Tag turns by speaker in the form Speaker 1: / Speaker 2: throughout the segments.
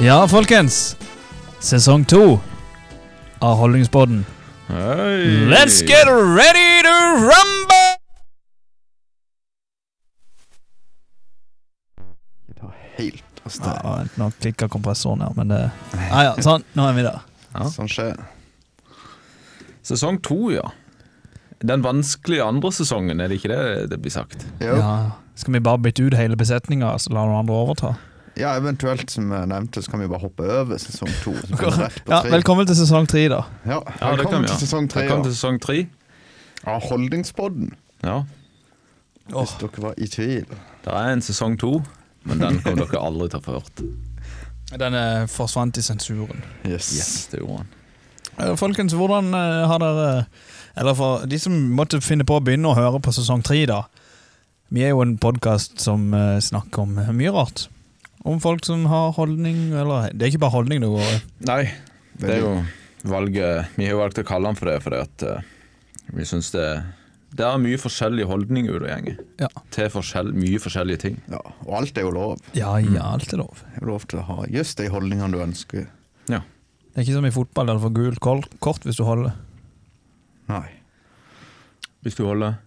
Speaker 1: Ja, folkens. Sesong to av Holdningspodden.
Speaker 2: Hei.
Speaker 1: Let's get ready to rumble!
Speaker 3: Helt av sted.
Speaker 1: Ja, nå klikka kompressoren her, men det Ja ja, sånn. Nå er vi der.
Speaker 2: Ja.
Speaker 3: Sånn skjer.
Speaker 2: Sesong to, ja. Den vanskelige andre sesongen, er det ikke det det blir sagt?
Speaker 3: Jo. Ja.
Speaker 1: Ja. Skal vi bare bytte ut hele besetninga, så lar noen andre overta?
Speaker 3: eventuelt, som jeg nevnte, så kan vi bare hoppe over sesong to. Så kommer vi rett på
Speaker 1: Ja,
Speaker 3: tre.
Speaker 1: Velkommen til sesong tre, da.
Speaker 2: Ja,
Speaker 3: Ja,
Speaker 2: det kan
Speaker 3: velkommen
Speaker 2: vi, ja.
Speaker 3: til sesong tre
Speaker 2: Velkommen
Speaker 3: ja.
Speaker 2: til sesong tre.
Speaker 3: av Holdningspodden.
Speaker 2: Ja.
Speaker 3: Hvis dere var i tvil.
Speaker 2: Det er en sesong to, men den kommer dere aldri til å få hørt.
Speaker 1: Den eh, forsvant i sensuren.
Speaker 3: Yes.
Speaker 2: Yes, det gjorde han.
Speaker 1: Eh, Folkens, hvordan eh, har dere Eller for de som måtte finne på å begynne å høre på sesong tre, da. Vi er jo en podkast som eh, snakker om eh, mye rart. Om folk som har holdning, eller Det er ikke bare holdning det går i.
Speaker 2: Nei, det er jo valget Vi har jo valgt å kalle han for det fordi at eh, vi syns det Det er mye forskjellige holdninger ute og gjenger.
Speaker 1: Ja.
Speaker 2: Til forskjell, mye forskjellige ting.
Speaker 3: Ja, og alt er jo lov.
Speaker 1: Ja, ja, alt er lov.
Speaker 3: Det er jo lov til å ha just de holdningene du ønsker.
Speaker 2: Ja.
Speaker 1: Det er ikke som i fotball, der du får gult kol- kort hvis du holder.
Speaker 3: Nei.
Speaker 2: Hvis du holder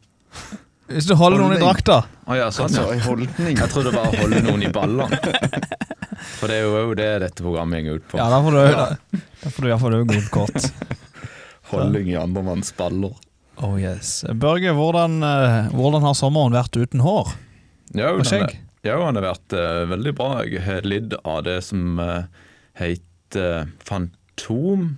Speaker 1: Hvis du holder noen i
Speaker 3: Holdning.
Speaker 1: drakta!
Speaker 2: Å ja, sånn,
Speaker 3: Altså,
Speaker 2: ja.
Speaker 3: ei holdning
Speaker 2: Jeg trodde bare å holde noen i ballene. For det er jo det dette programmet går ut på.
Speaker 1: Ja, da får du da, da får du iallfall òg gult kort.
Speaker 2: Holding i andremanns baller.
Speaker 1: Oh yes. Børge, hvordan, eh, hvordan har sommeren vært uten hår
Speaker 2: Ja,
Speaker 1: og
Speaker 2: den er-
Speaker 1: skjegg?
Speaker 2: ja, han har vært eh, veldig bra. Jeg har lidd av det som eh, heter fantom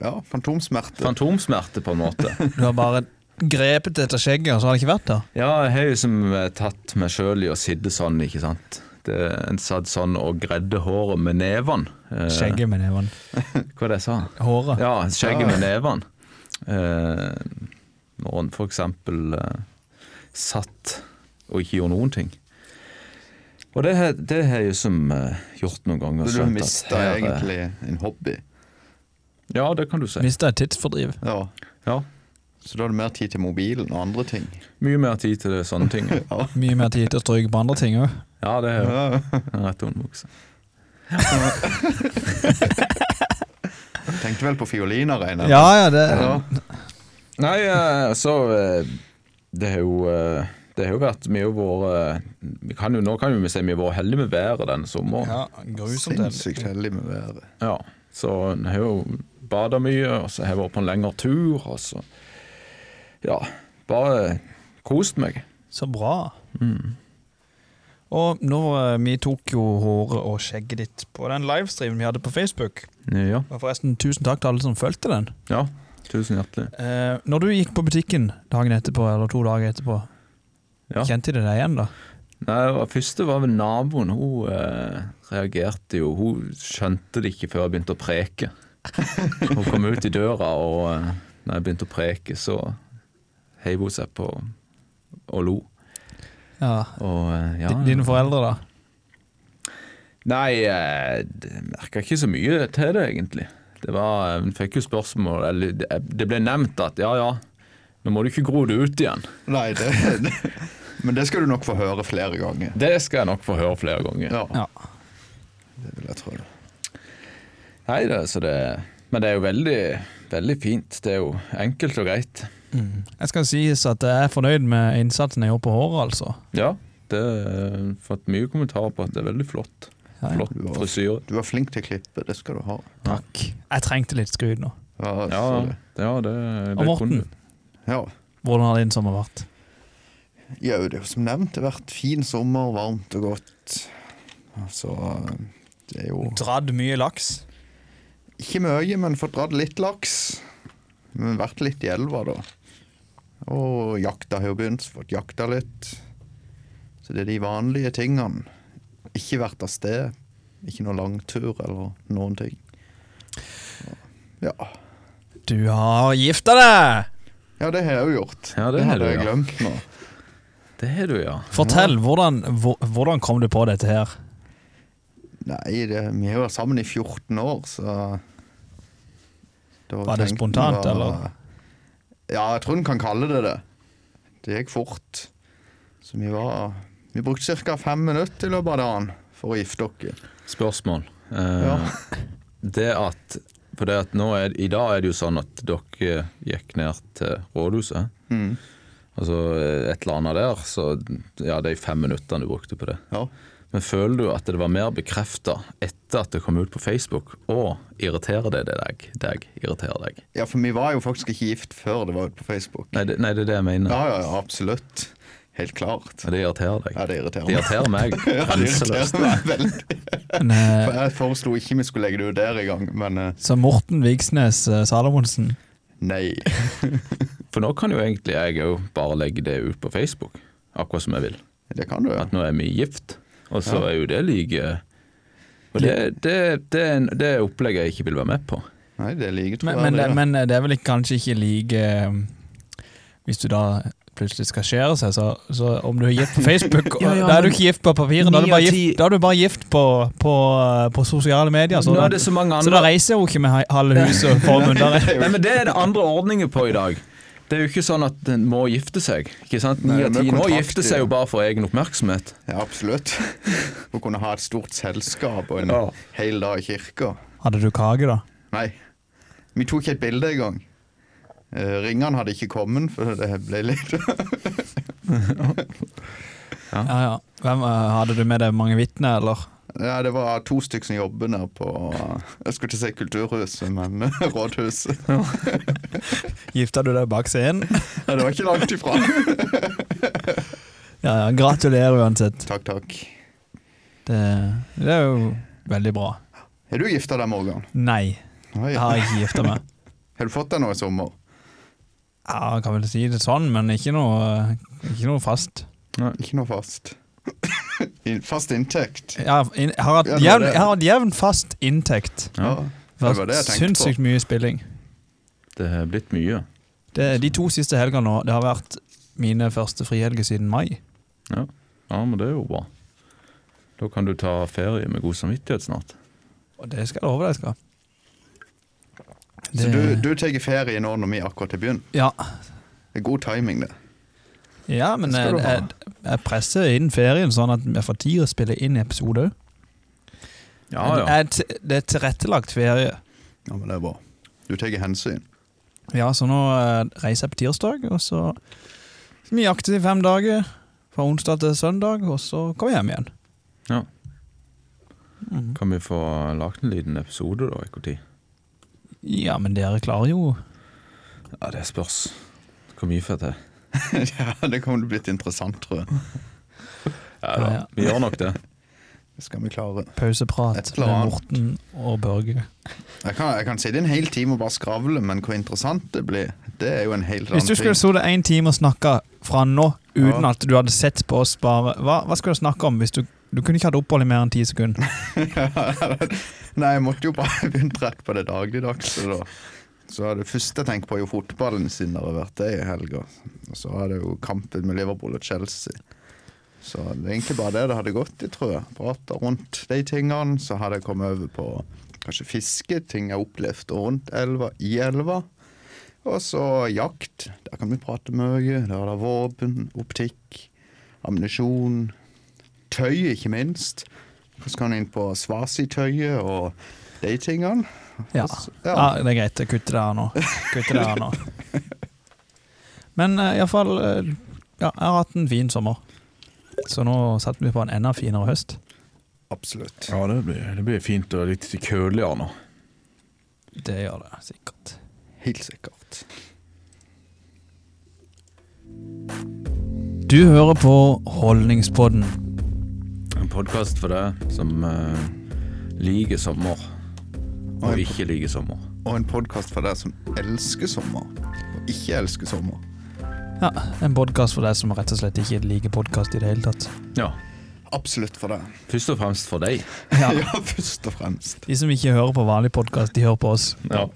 Speaker 3: Ja, fantomsmerte.
Speaker 2: fantomsmerte, på en måte.
Speaker 1: Du har bare grepet etter skjegget, og så har det ikke vært der?
Speaker 2: Ja, jeg har liksom eh, tatt meg sjøl i å sitte sånn, ikke sant. Det, en satt sånn og gredde håret med nevene. Eh,
Speaker 1: Skjegget med neven.
Speaker 2: Hva var det jeg sa?
Speaker 1: Håret.
Speaker 2: Ja, skjegget
Speaker 3: Ja.
Speaker 2: med nevene. Eh, når en for eksempel eh, satt og ikke gjorde noen ting. Og det har det har jeg jo som eh, gjort noen ganger.
Speaker 3: Du
Speaker 2: skjønt at
Speaker 3: mista
Speaker 2: her, eh,
Speaker 3: egentlig en hobby.
Speaker 2: Ja, det kan du si.
Speaker 1: Mista et tidsfordriv.
Speaker 3: Ja.
Speaker 2: Ja,
Speaker 3: Så da har du mer tid til mobilen og andre ting.
Speaker 2: Mye mer tid til det, sånne ting.
Speaker 1: Mye mer tid til å stryke på andre ting òg.
Speaker 2: Ja, det er jo
Speaker 3: Ja.
Speaker 2: en rett håndbukse.
Speaker 3: Tenkte vel på fioliner, regner jeg
Speaker 1: Ja, ja, det
Speaker 3: Ja.
Speaker 2: Nei, eh, så eh, Det har jo eh, Det har jo vært mye av våre eh, vi kan jo, Nå kan jo vi si vi har vært heldige med været denne sommeren.
Speaker 1: ja, grusomt.
Speaker 3: Sinnssykt heldig med været.
Speaker 2: Ja, så en har jo bada mye, og så har jeg vært på en lengre tur, og så Ja, bare kost meg.
Speaker 1: Så bra. Mm. Og når eh, vi tok jo håret og skjegget ditt på den livestreamen vi hadde på Facebook
Speaker 2: Ja.
Speaker 1: Og Forresten, tusen takk til alle som fulgte den.
Speaker 2: ja. Tusen hjertelig.
Speaker 1: Eh, når du gikk på butikken dagen etterpå, eller to dager etterpå,
Speaker 2: Ja.
Speaker 1: kjente de deg igjen da?
Speaker 2: Nei, og Første var vel naboen. Hun eh, reagerte jo. Hun skjønte det ikke før jeg begynte å preke. Hun kom ut i døra, og eh, når jeg begynte å preke, så heiv hun seg på og lo.
Speaker 1: Ja.
Speaker 2: Og eh, ja
Speaker 1: Di- Dine foreldre, da?
Speaker 2: Nei, eh, jeg merka ikke så mye til det, egentlig. Det var, eh, Hun fikk jo spørsmål Eller det- eh, det ble nevnt at ja, ja, nå må du ikke gro det ut igjen.
Speaker 3: Nei, det, det Men det skal du nok få høre flere ganger.
Speaker 2: Det skal jeg nok få høre flere ganger.
Speaker 3: Ja,
Speaker 1: Ja.
Speaker 3: det vil jeg tro.
Speaker 2: Nei, det, så det, Men det er jo veldig, veldig fint. Det er jo enkelt og greit.
Speaker 1: Mm. Jeg skal sies at jeg er fornøyd med innsatsen jeg gjorde på håret, altså.
Speaker 2: Ja, det har fått mye kommentarer på at det er veldig flott.
Speaker 1: Ja, ja.
Speaker 2: Flott frisyre.
Speaker 3: Du var flink til å klippe, det skal du ha.
Speaker 1: Takk. Jeg trengte litt skryt nå.
Speaker 3: Ja, så
Speaker 2: Ja,
Speaker 3: det-
Speaker 2: ja det,
Speaker 1: Og
Speaker 2: det
Speaker 1: Morten?
Speaker 2: kunne
Speaker 3: ja.
Speaker 1: Hvordan har din sommer vært?
Speaker 3: Ja, det er jo som nevnt det har vært fin sommer, varmt og godt. Så det er jo
Speaker 1: Dradd mye laks?
Speaker 3: ikke mye, men fått dratt litt laks. Men vært litt i elva, da. Og jakta har jo begynt, så fått jakta litt. Så det er de vanlige tingene. Ikke vært av sted. Ikke noen langtur eller noen ting. Ja.
Speaker 1: Du har gifta deg!
Speaker 3: Ja, det har jeg jo gjort.
Speaker 2: Ja, det har
Speaker 3: hadde
Speaker 2: du,
Speaker 3: jeg
Speaker 2: ja.
Speaker 3: glemt nå.
Speaker 2: Det har du, ja.
Speaker 1: Fortell, hvordan, hvor- hvordan kom du på dette her?
Speaker 3: Nei, det, vi har jo vært sammen i 14 år, så da
Speaker 1: Var det
Speaker 3: tenkte jeg
Speaker 1: spontant,
Speaker 3: bare-
Speaker 1: eller?
Speaker 3: Ja, jeg tror en kan kalle det det. Det gikk fort. Så vi var Vi brukte ca. fem minutter i løpet av dagen for å gifte oss.
Speaker 2: Spørsmål. Eh,
Speaker 3: Ja.
Speaker 2: Det at For det at nå er, i dag er det jo sånn at dere gikk ned til rådhuset.
Speaker 3: Mm.
Speaker 2: Altså et eller annet der, så ja, de fem minuttene du brukte på det.
Speaker 3: Ja.
Speaker 2: Men føler du at det var mer bekrefta etter at det kom ut på Facebook? Å, irriterer det deg? deg irriterer deg?
Speaker 3: ja, for vi var jo faktisk ikke gift før det var ute på Facebook.
Speaker 2: Nei, det, nei, det er det jeg mener.
Speaker 3: Ja, ja, ja, absolutt. Helt klart.
Speaker 2: Ja. Det irriterer deg.
Speaker 3: Ja, det
Speaker 2: Det
Speaker 3: irriterer meg.
Speaker 2: irriterer meg
Speaker 3: Ja, det
Speaker 2: grenseløst.
Speaker 3: irriterer meg veldig.
Speaker 1: Men, eh,
Speaker 3: For Jeg foreslo ikke vi skulle legge det ut der engang, men eh,
Speaker 1: så Morten Vigsnes eh, Salomonsen
Speaker 3: nei.
Speaker 2: For nå kan jo egentlig jeg òg bare legge det ut på Facebook, akkurat som jeg vil.
Speaker 3: Det kan du, ja.
Speaker 2: At nå er vi gift, og så
Speaker 3: Ja.
Speaker 2: er jo det like Og det, det, det, er en- det er opplegg jeg ikke vil være med på.
Speaker 3: Nei, det er like, tror
Speaker 1: Men,
Speaker 3: jeg.
Speaker 1: men,
Speaker 3: det,
Speaker 1: det,
Speaker 3: ja.
Speaker 1: men eh, det er vel ikke, kanskje ikke like eh, Hvis du da plutselig skal skjære seg, så, så om du er gift på Facebook
Speaker 2: Ja, ja,
Speaker 1: Da er du
Speaker 2: men-
Speaker 1: ikke gift på papiret, da er
Speaker 2: Ni
Speaker 1: du bare
Speaker 2: av
Speaker 1: gift,
Speaker 2: ti-
Speaker 1: da er du bare gift på, på, eh, på sosiale medier. Så
Speaker 2: Nå
Speaker 1: da,
Speaker 2: er det så mange
Speaker 1: Altså, så da
Speaker 2: andre
Speaker 1: reiser hun ikke med he- halve huset og formuen. Da re-
Speaker 2: Nei, men Det er det andre ordninger på i dag. Det er jo ikke sånn at en må gifte seg. Ikke sant? Ni
Speaker 3: Nei,
Speaker 2: av
Speaker 3: men
Speaker 2: ti nå
Speaker 3: kontrakt-
Speaker 2: gifter seg jo bare for egen oppmerksomhet.
Speaker 3: ja, absolutt. Å kunne ha et stort selskap og en
Speaker 2: Ja.
Speaker 3: hel dag i kirka.
Speaker 1: Hadde du kake, da?
Speaker 3: Nei. Vi tok ikke et bilde engang. Uh, ringene hadde ikke kommet, for det ble litt
Speaker 1: Ja, ja. Hvem, eh, hadde du med deg mange vitner, eller?
Speaker 3: Ja, det var to stykker som jobber der på Jeg skulle ikke si kulturhuset, men rådhuset.
Speaker 1: Gifta du deg bak scenen?
Speaker 3: Ja, det var ikke langt ifra.
Speaker 1: Ja, ja. Gratulerer uansett.
Speaker 3: Takk, takk.
Speaker 1: Det, det er jo veldig bra.
Speaker 3: Er du gifta deg, Morgan?
Speaker 1: Nei,
Speaker 3: Oi.
Speaker 1: jeg har ikke gifta meg.
Speaker 3: Har du fått deg noe i sommer?
Speaker 1: Ja, kan vel si det sånn, men ikke noe, ikke noe fast.
Speaker 3: Ikke noe fast. In- fast inntekt?
Speaker 1: Jeg har, jeg har, hatt,
Speaker 3: Ja, det var
Speaker 1: jevn,
Speaker 3: det.
Speaker 1: jeg har hatt jevn fast inntekt.
Speaker 2: Ja.
Speaker 3: Ja.
Speaker 1: Det
Speaker 3: Det var
Speaker 1: har vært
Speaker 3: det jeg tenkte på.
Speaker 1: sinnssykt mye spilling.
Speaker 2: Det er blitt mye.
Speaker 1: Det, de to siste helgene nå, det har vært mine første frihelger siden mai.
Speaker 2: Ja. ja, men det er jo bra. Da kan du ta ferie med god samvittighet snart.
Speaker 1: Og det skal jeg love deg, jeg skal.
Speaker 3: Så du, du tar ferie nå når vi akkurat har begynt?
Speaker 1: Ja,
Speaker 3: Det er god timing, det.
Speaker 1: ja men
Speaker 3: Det skal
Speaker 1: jeg,
Speaker 3: du ha.
Speaker 1: jeg, jeg presser inn ferien sånn at jeg får tid å spille inn episode.
Speaker 2: Ja,
Speaker 1: Men
Speaker 2: ja.
Speaker 1: jeg t- Det er tilrettelagt ferie.
Speaker 3: Ja, men det er bra. Du tar hensyn.
Speaker 1: Ja, så nå eh, reiser jeg på tirsdag, og så skal vi jakte i fem dager. Fra onsdag til søndag, og så kommer jeg hjem igjen.
Speaker 2: ja.
Speaker 1: Mm.
Speaker 2: Kan vi få lagd en liten episode, da? i hvor tid?
Speaker 1: Ja, men dere klarer jo
Speaker 2: Ja, det spørs hvor mye får jeg til.
Speaker 3: ja, det kommer til å bli litt interessant, tror jeg.
Speaker 2: Ja,
Speaker 1: Ja,
Speaker 2: da.
Speaker 1: ja.
Speaker 2: Vi gjør nok det.
Speaker 3: Det skal vi klare.
Speaker 1: pauseprat
Speaker 3: Et eller
Speaker 1: med
Speaker 3: annet.
Speaker 1: Morten og Børge.
Speaker 3: Jeg kan, jeg kan sitte en hel time og bare skravle, men hvor interessant det blir, det er jo en helt annen
Speaker 1: Hvis du skulle
Speaker 3: ting.
Speaker 1: sittet én time og snakka fra nå uten
Speaker 3: Ja.
Speaker 1: at du hadde sett på oss bare Hva, hva skulle du snakke om? hvis du du kunne ikke hatt opphold i mer enn ti sekunder.
Speaker 3: Nei, jeg måtte jo bare begynt rett på det dagligdagse, da. Så det første jeg tenker på, er jo fotballen, siden det har vært det i helga. Og så er det jo kampen med Liverpool og Chelsea. Så det er egentlig bare det det hadde gått i, tror jeg. Prata rundt de tingene. Så hadde jeg kommet over på kanskje fiske, ting jeg opplevde rundt elva, i elva. Og så jakt. Der kan vi prate mye. Der er det våpen, optikk, ammunisjon. Tøy, ikke minst. Så skal han inn på svasitøyet og de tingene.
Speaker 1: Ja. ja,
Speaker 3: Ja.
Speaker 1: det er greit. Jeg kutter det her nå. Kutter det her nå. Men eh, i alle fall eh, Ja, jeg har hatt en fin sommer. Så nå setter vi på en enda finere høst.
Speaker 3: Absolutt.
Speaker 2: Ja, det blir, det blir fint og litt kjøligere nå.
Speaker 1: Det gjør det sikkert.
Speaker 3: Helt sikkert.
Speaker 1: Du hører på Holdningspodden.
Speaker 2: En podkast for deg som eh, liker sommer,
Speaker 3: Og
Speaker 2: og
Speaker 3: en
Speaker 2: ikke liker sommer.
Speaker 3: Og en podkast for deg som elsker sommer, og ikke elsker sommer.
Speaker 1: Ja, En podkast for deg som rett og slett ikke liker podkast i det hele tatt.
Speaker 2: Ja.
Speaker 3: Absolutt for deg.
Speaker 2: Først og fremst for deg.
Speaker 1: Ja.
Speaker 3: Ja. først og fremst.
Speaker 1: De som ikke hører på vanlig podkast, de hører på oss.
Speaker 2: Ja.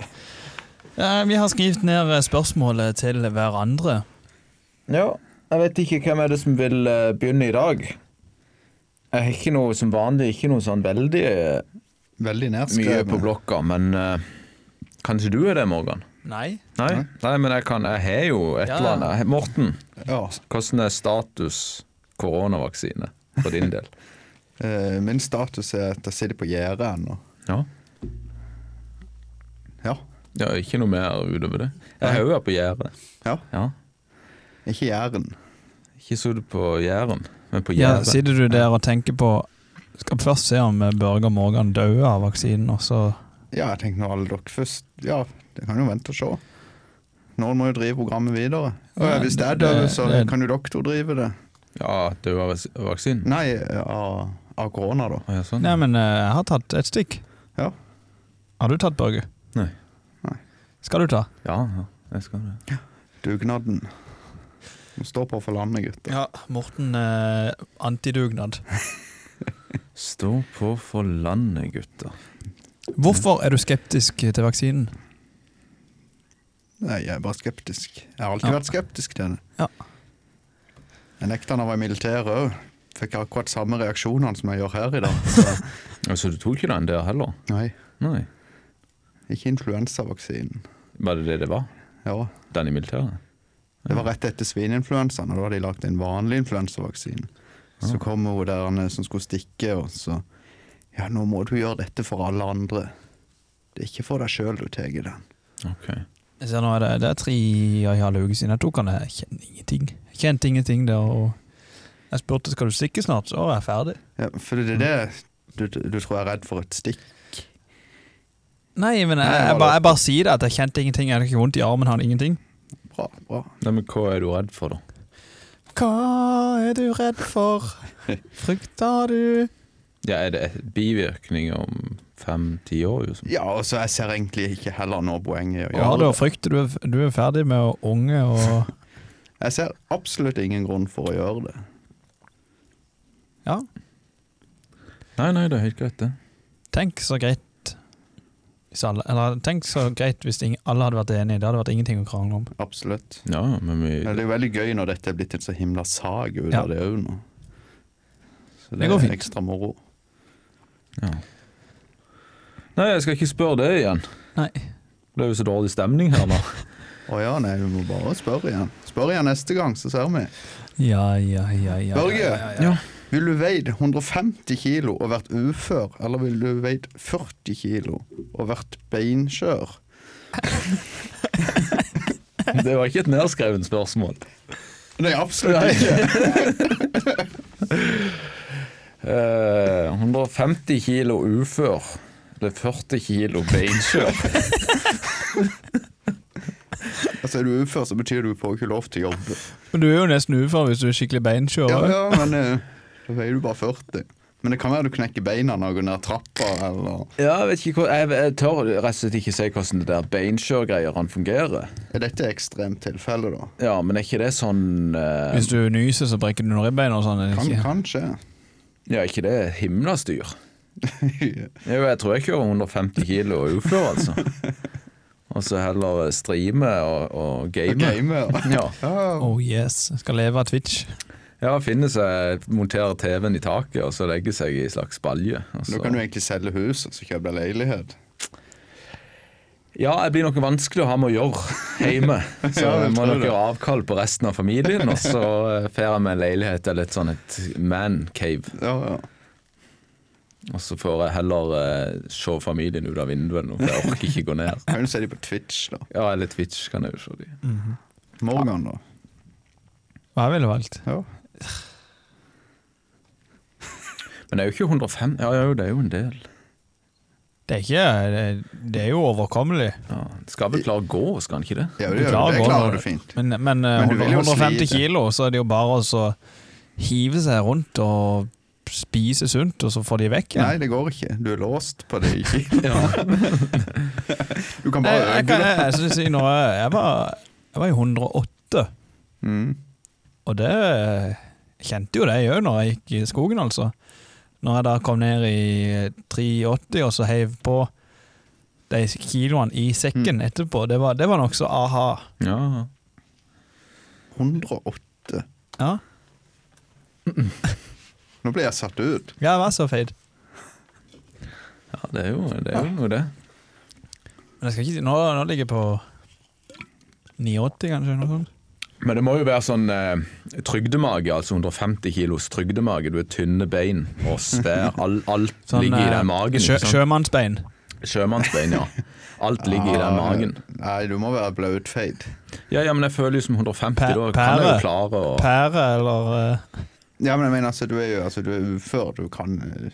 Speaker 1: Eh, Vi har skrevet ned eh, spørsmålet til hverandre.
Speaker 2: Jeg vet ikke hvem er det som vil eh, begynne i dag. Jeg har ikke noe som vanlig, ikke noe sånn veldig eh,
Speaker 3: Veldig
Speaker 2: mye på
Speaker 3: nedskrevne.
Speaker 2: blokka, men eh, kanskje du er det, Morgan?
Speaker 1: Nei?
Speaker 2: Nei,
Speaker 3: Nei.
Speaker 2: Nei men jeg kan Jeg har jo et
Speaker 1: Ja.
Speaker 2: eller annet. He- Morten,
Speaker 3: Ja.
Speaker 2: hvordan er status koronavaksine for din del?
Speaker 3: Eh, Min status er at jeg sitter på gjerdet ennå.
Speaker 2: Ja.
Speaker 3: Ja.
Speaker 2: ja, ikke noe mer utover det. Jeg har jo vært på gjerdet.
Speaker 3: ja.
Speaker 2: Ja.
Speaker 3: Ikke Jæren.
Speaker 2: Ikke sittet på Jæren, men på
Speaker 1: Ja,
Speaker 2: gjerdet.
Speaker 1: sitter du der og tenker på Skal først se om eh, Børge Morgan døde av vaksinen, og så
Speaker 3: Ja, jeg tenkte nå alle dere først. Ja, det kan jo vente og se. Noen må jo drive programmet videre. Og
Speaker 1: Ja,
Speaker 3: hvis jeg
Speaker 1: det-
Speaker 3: dør, så
Speaker 1: det-
Speaker 3: kan jo dere to drive det.
Speaker 2: Ja, det var vas- vaksinen.
Speaker 3: Nei, av, av korona, da.
Speaker 2: Å, ja, sånn.
Speaker 1: Nei, men eh, jeg har tatt et stikk.
Speaker 3: Mm. Ja.
Speaker 1: Har du tatt, Børge?
Speaker 2: Nei.
Speaker 3: Nei.
Speaker 1: Skal du ta?
Speaker 2: Ja, ja, jeg skal det.
Speaker 3: Dugnaden. Må stå på for landet, gutter.
Speaker 1: Ja, Morten eh, antidugnad.
Speaker 2: Stå på for landet, gutter.
Speaker 1: Hvorfor er du skeptisk til vaksinen?
Speaker 3: Nei, jeg er bare skeptisk. Jeg har alltid
Speaker 1: Ja.
Speaker 3: vært skeptisk til det.
Speaker 1: Ja.
Speaker 3: Jeg nekta da jeg var i militæret òg. Fikk akkurat samme reaksjonene som jeg gjør her i dag. Så.
Speaker 2: Altså, du tok ikke den der heller?
Speaker 3: Nei,
Speaker 2: Nei.
Speaker 3: ikke influensavaksinen.
Speaker 2: Var det det det var?
Speaker 3: Ja,
Speaker 2: Den i militæret?
Speaker 3: Det var rett etter svineinfluensaen, og da hadde de lagt en vanlig influensavaksine. Så kom hun der han, eh, som skulle stikke, og så Ja, nå må du gjøre dette for alle andre. Det er ikke for deg sjøl du tar den.
Speaker 2: Ok.
Speaker 1: Jeg ser nå er det, det er tre og en halv uke siden jeg tok den. Jeg kjenner ingenting. Jeg kjente ingenting der. Og jeg spurte skal du stikke snart, så var jeg ferdig.
Speaker 3: Ja, for det er det du, du tror jeg er redd for et stikk?
Speaker 1: Nei, men jeg,
Speaker 3: Nei,
Speaker 1: jeg,
Speaker 3: var
Speaker 1: bare,
Speaker 3: det-
Speaker 1: jeg bare sier det at jeg kjente ingenting. Jeg hadde ikke vondt i armen, hadde ingenting.
Speaker 3: Bra, bra.
Speaker 2: Nei, men hva er du redd for, da?
Speaker 1: Hva er du redd for? Frykter du
Speaker 2: Ja, Er det bivirkning om fem-ti år? Liksom?
Speaker 3: Ja, og så jeg ser egentlig ikke heller nå poenget i å
Speaker 1: Ja,
Speaker 3: gjøre
Speaker 1: da
Speaker 3: det.
Speaker 1: frykter du er- du er ferdig med å unge og
Speaker 3: Jeg ser absolutt ingen grunn for å gjøre det.
Speaker 1: Ja,
Speaker 2: Nei, nei, det er helt greit, det.
Speaker 1: tenk så greit hvis alle Eller tenk så greit hvis ingen, alle hadde vært enige. Det hadde vært ingenting å krangle om.
Speaker 3: Absolutt.
Speaker 2: Ja, men vi
Speaker 3: Men det er jo veldig gøy når dette er blitt en så himla sag ut
Speaker 1: Ja.
Speaker 3: av det òg nå. Så det,
Speaker 1: Det går
Speaker 3: er
Speaker 1: fint.
Speaker 3: ekstra moro.
Speaker 2: ja. Nei, jeg skal ikke spørre det igjen.
Speaker 1: Nei.
Speaker 2: Det er jo så dårlig stemning her nå.
Speaker 3: Å ja, nei, vi må bare spørre igjen. Spør igjen neste gang, så ser vi.
Speaker 1: Ja, ja, ja, ja.
Speaker 3: Børge,
Speaker 1: ja, ja, ja.
Speaker 2: Ja.
Speaker 3: Vil du veid 150 kilo og vært ufør, eller vil du veid 40 kilo og vært beinskjør?
Speaker 2: Det var ikke et nedskrevet spørsmål.
Speaker 3: Nei, absolutt ikke.
Speaker 2: Eh, 150 kilo ufør. Det er 40 kilo beinskjør.
Speaker 3: Altså, Er du ufør, så betyr du får ikke lov til å jobbe.
Speaker 1: Men du er jo nesten ufør hvis du er skikkelig beinkjører.
Speaker 3: Ja, ja, men eh, da veier du bare 40. Men det kan være du knekker beina når du går ned trappa, eller
Speaker 2: Ja, jeg, vet ikke hvor, jeg, jeg tør rett og slett ikke si hvordan det der beinskjørgreiene fungerer.
Speaker 3: Er dette ekstremt tilfelle, da?
Speaker 2: Ja, men er ikke det sånn eh,
Speaker 1: Hvis du nyser, så brekker du noen ribbein og sånn. er det
Speaker 3: Kan,
Speaker 1: ikke?
Speaker 3: kan skje.
Speaker 2: Ja, er ikke det himla styr? Jo, jeg tror jeg kjører 150 kilo og er ufør, altså. Og så heller eh, streame og, og game.
Speaker 3: Gamer.
Speaker 2: Ja.
Speaker 3: Ja.
Speaker 1: Oh yes, skal leve av Twitch.
Speaker 2: ja, finne seg, montere TV-en i taket og så legge seg i en slags balje. og
Speaker 3: Da
Speaker 2: så-
Speaker 3: kan du egentlig selge hus og så kjøpe deg leilighet.
Speaker 2: Ja, jeg blir noe vanskelig å ha med å gjøre hjemme. Så
Speaker 3: Ja,
Speaker 2: jeg
Speaker 3: jeg
Speaker 2: må
Speaker 3: tror
Speaker 2: nok
Speaker 3: det.
Speaker 2: gjøre avkall på resten av familien, og så eh, får jeg meg en leilighet eller et sånn et man cave.
Speaker 3: Ja, ja.
Speaker 2: Og så får jeg heller eh, se familien ut av vinduet eller noe, for jeg orker ikke gå ned.
Speaker 3: Kan du se de på Twitch, da?
Speaker 2: Ja, eller Twitch kan jeg jo se de.
Speaker 3: Morgan, da?
Speaker 1: Hva jeg ville valgt?
Speaker 3: Ja.
Speaker 2: Men det er jo ikke 105 Ja, jo, det er jo en del.
Speaker 1: Det er ikke Det er, det er jo overkommelig.
Speaker 2: Ja, skal vel klare å gå, skal han ikke det?
Speaker 3: Ja,
Speaker 1: Du
Speaker 3: det, det
Speaker 1: klarer å gå
Speaker 3: klarer
Speaker 1: når-
Speaker 3: du fint.
Speaker 1: Men, men, eh,
Speaker 3: Men du vil jo
Speaker 1: 150
Speaker 3: slite.
Speaker 1: kilo, så er det jo bare å så hive seg rundt og spise sunt, og så får de vekk
Speaker 3: Nei,
Speaker 1: igjen.
Speaker 3: det går ikke. Du er låst på det ikke.
Speaker 2: Ja.
Speaker 3: Du kan
Speaker 1: Jeg, jeg,
Speaker 3: bare
Speaker 1: jeg,
Speaker 3: øke
Speaker 1: kan-
Speaker 3: det.
Speaker 1: jeg, jeg, jeg, når jeg, jeg, var, jeg var i 108,
Speaker 3: Mm.
Speaker 1: og det jeg kjente jo det jeg òg når jeg gikk i skogen, altså. Når jeg da kom ned i 83 og så heiv på de kiloene i
Speaker 3: Mm.
Speaker 1: sekken etterpå, det var, det var nokså aha.
Speaker 2: ja.
Speaker 3: 108.
Speaker 1: Ja,
Speaker 3: Nå ble jeg satt ut.
Speaker 1: jeg var så feit.
Speaker 2: ja, det er jo, det er jo noe, det.
Speaker 1: Men jeg skal ikke si Nå, nå ligger jeg på 89, kanskje? Noe sånt.
Speaker 2: Men det må jo være sånn eh, trygdemage, altså 150 kilos trygdemage. Du har tynne bein og svær. All, alt
Speaker 3: Sånn,
Speaker 2: ligger i
Speaker 1: eh,
Speaker 2: den magen. liksom.
Speaker 1: sjø,
Speaker 2: ikke sant?
Speaker 1: sjømannsbein.
Speaker 2: Sjømannsbein, ja. Alt ligger i
Speaker 3: Ah.
Speaker 2: den magen.
Speaker 3: Nei, du må være blautfeit.
Speaker 2: Ja, ja, men jeg føler jo som 150,
Speaker 1: Pæ-
Speaker 2: da kan jeg jo
Speaker 1: pære.
Speaker 2: klare å
Speaker 1: Pære eller eh,
Speaker 3: Ja, men jeg mener, altså, du er jo altså, du er ufør. Du kan eh,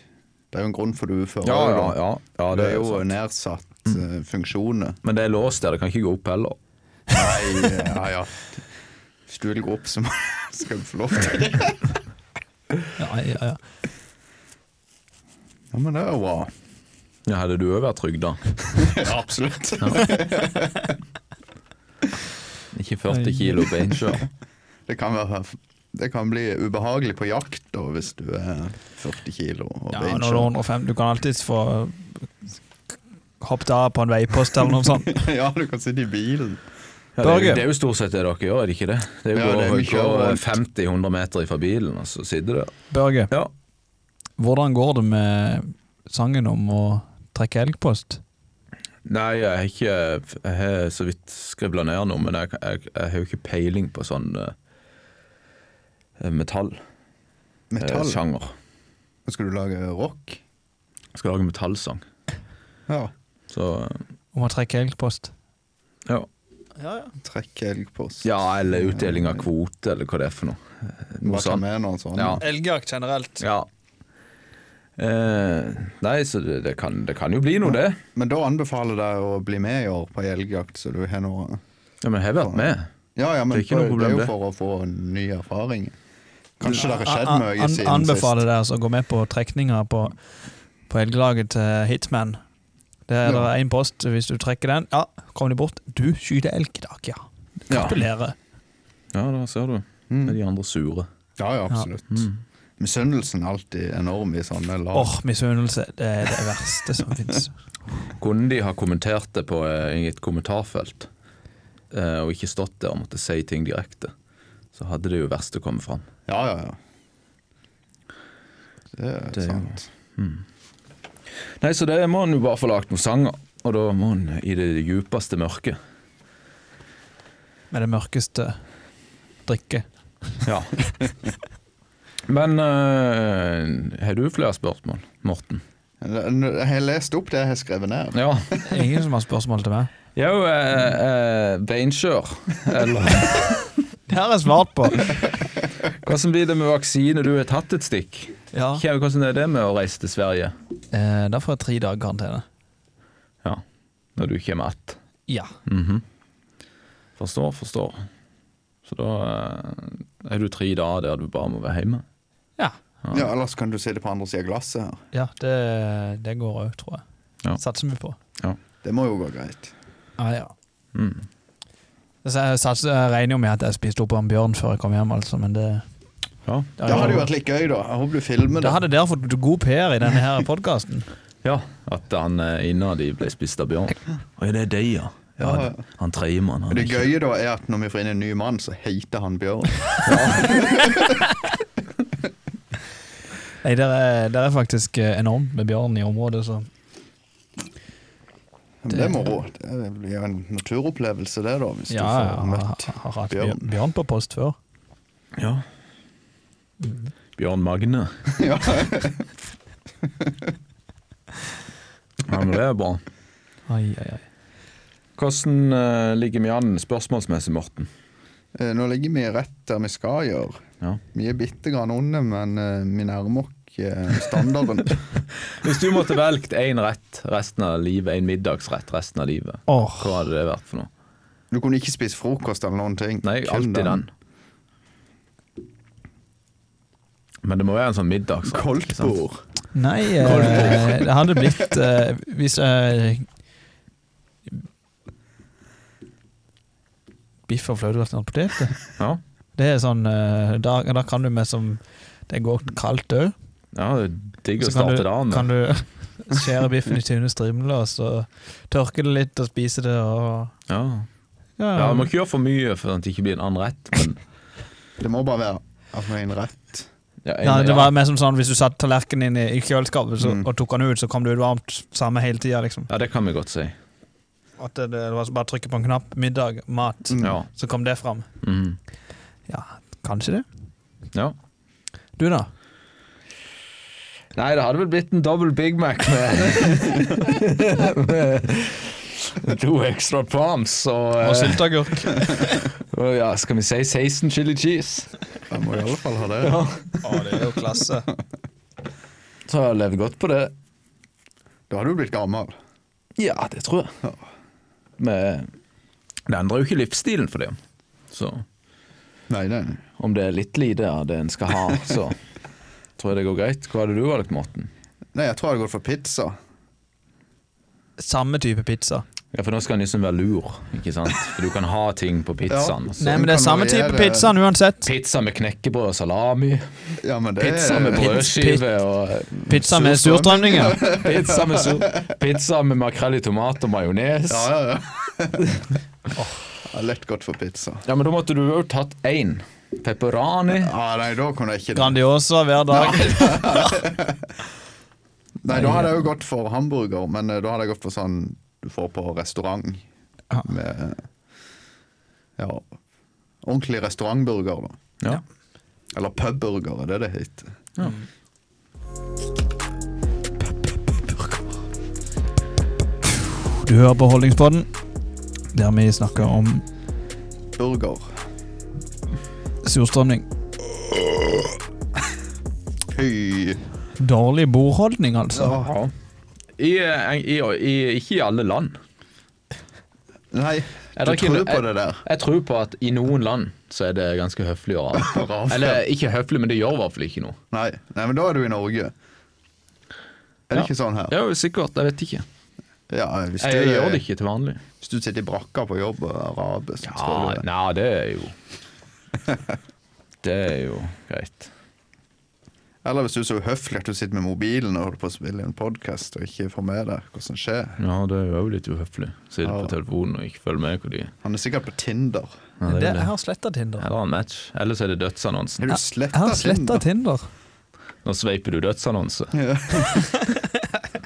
Speaker 3: Det er jo en grunn for du er ufør.
Speaker 2: Ja,
Speaker 3: også,
Speaker 2: ja,
Speaker 3: da.
Speaker 2: ja. ja
Speaker 3: det
Speaker 2: det
Speaker 3: er jo
Speaker 2: sant. Mm.
Speaker 3: nedsatt eh, funksjoner.
Speaker 2: Men det er låst der, det kan ikke gå opp heller.
Speaker 3: Nei, ja, ja. Hvis du vil gå opp, så må- skal du få lov til det.
Speaker 1: ja, ja, ja.
Speaker 3: Ja, men det er jo bra.
Speaker 2: Ja, Hadde du òg vært trygda?
Speaker 3: Ja, absolutt.
Speaker 2: Ikke 40 kilo beinskjør.
Speaker 3: Det kan, være, det kan bli ubehagelig på jakt da, hvis du er 40 kilo og
Speaker 1: ja når du er
Speaker 3: beinskjør.
Speaker 1: 105 Du kan alltids få hoppet av på en veipost eller noe sånt.
Speaker 3: Ja, du kan sitte i bilen.
Speaker 2: Eh, Ja, det, er jo-
Speaker 1: Børge.
Speaker 2: det er jo stort sett det dere gjør, er det ikke det? Det er jo
Speaker 3: Ja, det er
Speaker 2: gå-
Speaker 3: mye
Speaker 2: gå
Speaker 3: overalt.
Speaker 2: 50-100 meter ifra bilen, og så sitter du der.
Speaker 1: Børge,
Speaker 2: Ja.
Speaker 1: hvordan går det med sangen om å trekke elgpost?
Speaker 2: Nei, jeg har ikke Jeg har så vidt skribla ned noe, men jeg, jeg, jeg har jo ikke peiling på sånn eh, metall.
Speaker 3: Metall.
Speaker 2: Eh, sjanger.
Speaker 3: Skal du lage rock?
Speaker 2: Jeg skal lage metallsang.
Speaker 3: Ja.
Speaker 2: Så
Speaker 1: Om å trekke elgpost?
Speaker 2: ja.
Speaker 1: Ja, ja.
Speaker 3: Trekk elgpost.
Speaker 2: ja, eller utdeling av kvote, eller hva det er for noe. Noe sånt.
Speaker 3: Bakamena og sånn.
Speaker 2: Ja.
Speaker 1: Elgjakt generelt.
Speaker 2: Ja. Eh, nei, så det, det, kan, det kan jo bli noe, det.
Speaker 3: Men da anbefaler jeg deg å bli med i år på elgjakt, så du har noe
Speaker 2: Ja, Men jeg har vært med.
Speaker 3: Ja, ja, men
Speaker 2: Det er ikke noe
Speaker 3: for- det er
Speaker 2: problem,
Speaker 3: jo
Speaker 2: det.
Speaker 3: for å få ny erfaring. Kanskje det har skjedd mye siden sist.
Speaker 1: Anbefaler deg altså å gå med på trekninger på, på elglaget til Hitman. Det er
Speaker 3: Ja.
Speaker 1: én post. Hvis du trekker den, ja, kom de bort. Du skyter elg i dag, ja.
Speaker 2: Ja.
Speaker 1: Gratulerer.
Speaker 2: Ja, da ser du.
Speaker 3: Mm.
Speaker 2: Er de andre sure?
Speaker 3: Ja, ja, absolutt. Misunnelsen er alltid enorm i sånne lag.
Speaker 1: Åh, misunnelse. Det er det verste som fins.
Speaker 2: Kunne de ha kommentert det på eh, i et kommentarfelt, eh, og ikke stått der og måtte si ting direkte, så hadde det jo verste kommet fram.
Speaker 3: Ja, ja, ja. Det er
Speaker 2: Det er jo-
Speaker 3: sant.
Speaker 2: Nei, så det må en jo bare få lagt noen sanger, og da må en i det djupeste mørket.
Speaker 1: Med det mørkeste drikke.
Speaker 2: Ja. Men eh, har du flere spørsmål, Morten?
Speaker 3: Jeg har lest opp det jeg har skrevet ned.
Speaker 2: Ja.
Speaker 1: Ingen som har spørsmål til meg?
Speaker 2: Jo, eh, eh, beinskjør. Eller
Speaker 1: Det har jeg svart på.
Speaker 2: hvordan blir det med vaksine? Du har tatt et stikk.
Speaker 1: Ja.
Speaker 2: Kjære, Hvordan er det med å reise til Sverige?
Speaker 1: Eh, da får jeg tre dager karantene.
Speaker 2: Ja, når du kommer att.
Speaker 1: Ja.
Speaker 2: Mhm. Forstår, forstår. Så da eh, er du tre dager der du bare må være hjemme.
Speaker 1: Ja,
Speaker 3: Ja, Ellers kan du sitte på andre sida av glasset her.
Speaker 1: ja det, det går òg, tror jeg.
Speaker 2: Ja.
Speaker 1: Satser vi på.
Speaker 3: Det må jo gå greit.
Speaker 1: Ja, ja.
Speaker 2: Mm.
Speaker 1: Så jeg, satser, jeg regner jo med at jeg spiste opp en bjørn før jeg kom hjem, altså, men det
Speaker 2: Ja.
Speaker 1: Det,
Speaker 3: Det hadde jo vært litt gøy, da. Jeg håper du filmer
Speaker 1: Da
Speaker 3: det.
Speaker 1: hadde dere fått god PR i denne her podkasten.
Speaker 2: ja. At han eh, innad i ble spist av bjørn. Å, ja, det er de, ja. ja
Speaker 3: Ja, ja.
Speaker 2: det- Han tredjemann.
Speaker 3: Det gøye da er at når vi får inn en ny mann, så heter han Bjørn.
Speaker 1: Nei, dere er, dere er faktisk eh, enormt med bjørn i området, så
Speaker 3: Men det er moro. Det blir jo en naturopplevelse, det, da. Hvis
Speaker 1: ja,
Speaker 3: du
Speaker 1: jeg
Speaker 3: får
Speaker 1: har,
Speaker 3: møtt
Speaker 1: har hatt
Speaker 3: bjørn.
Speaker 1: bjørn. bjørn på post før.
Speaker 2: Ja. Bjørn Magne.
Speaker 3: Ja.
Speaker 2: Ja, men det er bra.
Speaker 1: Ai, ai, ai.
Speaker 2: Hvordan eh, ligger vi an spørsmålsmessig, Morten?
Speaker 3: Eh, Nå ligger vi rett der vi skal gjøre.
Speaker 2: Ja.
Speaker 3: Vi er bitte grann under, men eh, vi nærmer oss eh, standarden.
Speaker 2: Hvis du måtte velgt én rett resten av livet, en middagsrett resten av livet,
Speaker 1: Åh,
Speaker 2: hva hadde det vært for noe?
Speaker 3: Du kunne ikke spise frokost eller noen ting.
Speaker 2: Nei,
Speaker 3: Kun
Speaker 2: alltid den. Men det må være en sånn middags
Speaker 3: Koldtbord.
Speaker 1: Nei, eh, det hadde blitt eh, Hvis jeg Biff og fløtegrøt og poteter.
Speaker 2: Ja.
Speaker 1: Det er sånn eh, Da, da kan du med som Det går kaldt òg.
Speaker 2: ja, det er digg å
Speaker 1: Så kan
Speaker 2: starte
Speaker 1: du,
Speaker 2: dagen med.
Speaker 1: kan du skjære biffen i tynne strimler, og så tørke det litt og spise det. Og,
Speaker 2: Ja.
Speaker 1: ja,
Speaker 2: ja, Man må ikke gjøre for mye for at det ikke blir en annen rett, men
Speaker 3: Det må bare være at vi har en rett.
Speaker 2: ja, en,
Speaker 1: ja, det
Speaker 2: ja.
Speaker 1: var mer som sånn Hvis du satte tallerkenen inn i, i kjøleskapet så,
Speaker 3: Mm.
Speaker 1: og tok den ut, så kom det ut varmt samme hele tida. Liksom.
Speaker 2: ja, det kan vi godt si.
Speaker 1: At det, det var så bare å trykke på en knapp. Middag, mat.
Speaker 3: Mm.
Speaker 2: Ja.
Speaker 1: Så kom det fram.
Speaker 2: Mhm.
Speaker 1: Kanskje det.
Speaker 2: Ja.
Speaker 1: Du, da?
Speaker 2: Nei, det hadde vel blitt en double Big Mac med, med to extra palms og, eh,
Speaker 1: Og sylteagurk.
Speaker 2: og ja, skal vi si 16 chili cheese?
Speaker 3: Jeg må i alle fall ha det.
Speaker 1: Å, det er jo klasse.
Speaker 2: Så jeg lever godt på det.
Speaker 3: Da har du blitt gammel.
Speaker 2: Ja, det tror jeg. Men det endrer jo ikke livsstilen for det. Så
Speaker 3: Nei, nei. nei.
Speaker 2: om det er litt lite av det en skal ha, så tror jeg det går greit. Hva hadde du valgt, Morten?
Speaker 3: Nei, jeg tror jeg hadde gått for pizza.
Speaker 1: Samme type pizza.
Speaker 2: Ja, for nå skal en liksom være lur, ikke sant? For du kan ha ting på pizzaen.
Speaker 3: Ja.
Speaker 2: Så.
Speaker 1: Nei, men det er
Speaker 3: kan
Speaker 1: samme type
Speaker 3: variere-
Speaker 1: pizzaen uansett.
Speaker 2: Pizza med knekkebrød og salami.
Speaker 3: Ja, men det
Speaker 2: Pizza med brødskive og
Speaker 1: Pizza med
Speaker 3: Surstrømming.
Speaker 1: surstrømninger.
Speaker 2: Pizza med, sur, pizza med makrell i tomat og majones.
Speaker 3: Ja, ja, ja. Jeg har lett gått for pizza.
Speaker 2: Ja, men da måtte du jo tatt én. Pepperoni.
Speaker 3: Ja, Ah, nei, da kunne jeg ikke det.
Speaker 1: Grandiosa hver dag.
Speaker 3: Nei, da hadde jeg jo gått for hamburger, men eh, da hadde jeg gått for sånn du får på restaurant.
Speaker 1: Ja.
Speaker 3: Med ja, ordentlig restaurantburger, da.
Speaker 2: Ja.
Speaker 3: Eller pubburger, er det det heter.
Speaker 1: Du hører på Holdningspodden, der vi snakker om
Speaker 3: Burger.
Speaker 1: surstrømning.
Speaker 3: Høy.
Speaker 1: Dårlig bordholdning, altså.
Speaker 2: Ja. I, eh, i, i, ikke i alle land.
Speaker 3: Nei,
Speaker 2: Er
Speaker 3: du
Speaker 2: det ikke-
Speaker 3: tror på
Speaker 2: er-
Speaker 3: det der.
Speaker 2: Jeg tror på at i noen land så er det ganske høflig å ha
Speaker 3: Rart.
Speaker 2: Eller ikke høflig, men det gjør i hvert fall ikke noe.
Speaker 3: Nei. nei, men da er du i Norge. Er det
Speaker 2: Ja.
Speaker 3: ikke sånn her?
Speaker 2: Det er jo sikkert, jeg vet ikke.
Speaker 3: Ja, hvis du,
Speaker 2: Jeg, gjør det ikke til vanlig.
Speaker 3: Hvis du sitter i brakka på jobb og er araber, så
Speaker 2: Ja,
Speaker 3: tror du det.
Speaker 2: nei, det er jo Det er jo greit.
Speaker 3: Eller hvis du er så uhøflig at du sitter med mobilen og holder på å spille en podkast og ikke får med deg hva som skjer.
Speaker 2: Ja, det er jo litt uhøflig. Sitte
Speaker 3: Ja.
Speaker 2: på telefonen og ikke følge med hvor de
Speaker 3: Han er sikkert på Tinder.
Speaker 2: Ja, det er
Speaker 1: Det,
Speaker 2: det.
Speaker 1: jeg har sletta Tinder.
Speaker 2: Eller en match. Ellers er det dødsannonsen.
Speaker 3: Har du
Speaker 1: Jeg har
Speaker 3: sletta
Speaker 1: sletta
Speaker 3: Tinder?
Speaker 1: Tinder.
Speaker 2: Nå sveiper du dødsannonse.
Speaker 3: Ja.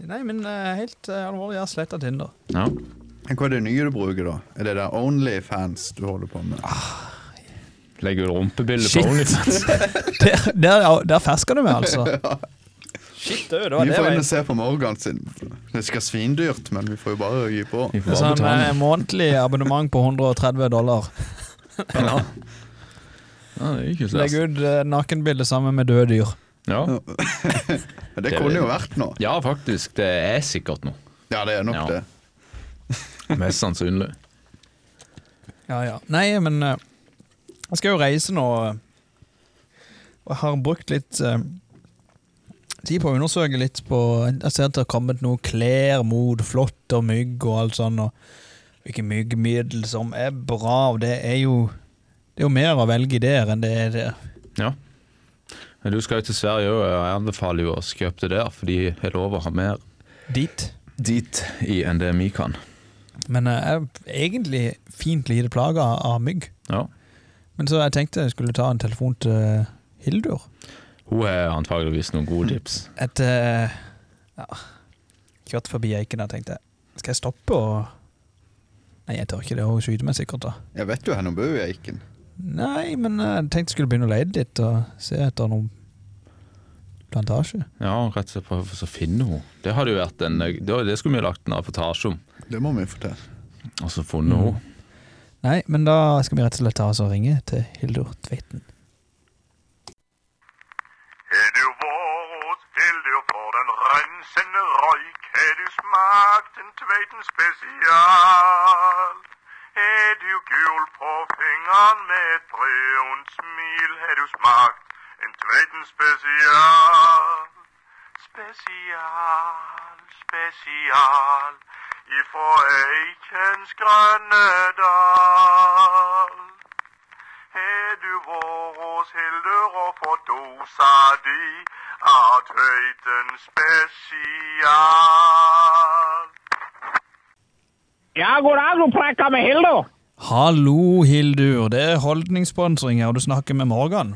Speaker 1: Nei, men eh, helt eh, alvorlig, jeg har sletta Tinder.
Speaker 2: Ja.
Speaker 3: Men Hva er det nye du bruker, da? Er det der Onlyfans du holder på med?
Speaker 2: Legger du rumpebilde
Speaker 1: Shit.
Speaker 2: på OnlyFans?
Speaker 1: Der, der, der fersker du meg, altså. Shit, det var
Speaker 3: vi
Speaker 1: det
Speaker 3: får inn
Speaker 1: var
Speaker 3: og se på Morgan sin. Det skal svindyrt, men vi får jo bare gi på.
Speaker 2: Vi får bare
Speaker 1: Sånn eh,
Speaker 2: betale.
Speaker 1: månedlig abonnement på 130 dollar.
Speaker 2: Ja. Ja, det er ikke så
Speaker 1: Legg
Speaker 2: verst.
Speaker 1: ut eh, nakenbilde sammen med døde dyr.
Speaker 2: Ja.
Speaker 3: Men Det kunne jo vært noe.
Speaker 2: ja, faktisk. Det er sikkert noe.
Speaker 3: Ja, det er nok
Speaker 2: Ja.
Speaker 3: det.
Speaker 2: Mest sannsynlig.
Speaker 1: Ja, ja. Nei, men eh, jeg skal jo reise nå, eh, og jeg har brukt litt eh, tid på å undersøke litt på Jeg ser at det har kommet noe klær mot flått og mygg og alt sånn, og hvilke myggmiddel som er bra, og det er jo det er jo mer å velge der enn det er der.
Speaker 2: Ja. Men du skal jo til Sverige òg, og jeg anbefaler jo å kjøpe det der, for de har lov å ha mer
Speaker 1: dit.
Speaker 2: dit i enn det vi kan.
Speaker 1: Men eh, jeg er egentlig fint lite plaga av mygg.
Speaker 2: Ja.
Speaker 1: Men så jeg tenkte jeg skulle ta en telefon til eh, Hildur.
Speaker 2: Hun har antageligvis noen gode tips.
Speaker 1: Et eh, ja, Kjørt forbi eiken der, tenkte jeg. Skal jeg stoppe og Nei, jeg tør ikke det. Hun skyter meg sikkert, da.
Speaker 3: Jeg vet jo hvor hun bor, Eiken.
Speaker 1: Nei, men eh, jeg tenkte jeg skulle begynne å leie litt og se etter noen plantasje.
Speaker 2: Ja, rett og slett prøve å finne henne. Det hadde jo vært en Det det skulle vi ha lagt en reportasje om,
Speaker 3: Det må vi få til.
Speaker 2: og så funnet henne.
Speaker 1: Nei, men da skal vi rett og slett ta oss og ringe til Hildur Tveiten.
Speaker 4: Har du vært heldig å få den rensende røyk? Har du smakt en Tveiten spesial? Har du gul på fingeren med et brunt smil? Har du smakt en Tveiten spesial? Spesial, spesial ifra Eikens grønne dal. Har du vært hos Hildur og fått dosa di av Tøyten spesial?
Speaker 5: Ja, god dag, du prakker med Hildur.
Speaker 1: Hallo, Hildur. Det er holdningssponsring her, og du snakker med Morgan.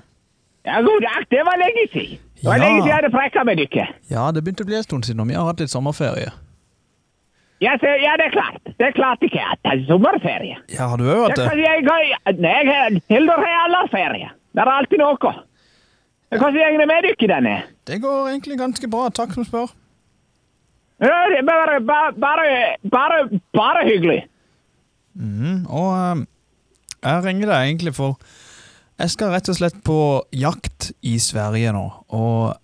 Speaker 5: Ja, god dag, det var lenge siden. Det var
Speaker 1: Ja.
Speaker 5: lenge siden jeg hadde prakker med dere.
Speaker 1: Ja, det begynte å bli en stund siden, og vi har hatt litt sommerferie.
Speaker 5: Ja, så, ja, det er klart. Det er klart jeg har hatt sommerferie.
Speaker 1: Ja, har du òg
Speaker 5: Jeg
Speaker 1: hatt
Speaker 5: kan,
Speaker 1: det?
Speaker 5: jeg, kan- nei, jeg har- Hildur har alle ferie. Det er alltid noe. Hvordan går det med dere denne?
Speaker 1: Det går egentlig ganske bra, takk som spør.
Speaker 5: Ja, det er bare, bare, bare, bare, bare hyggelig.
Speaker 1: Mm, og eh, jeg ringer deg egentlig for Jeg skal rett og slett på jakt i Sverige nå, og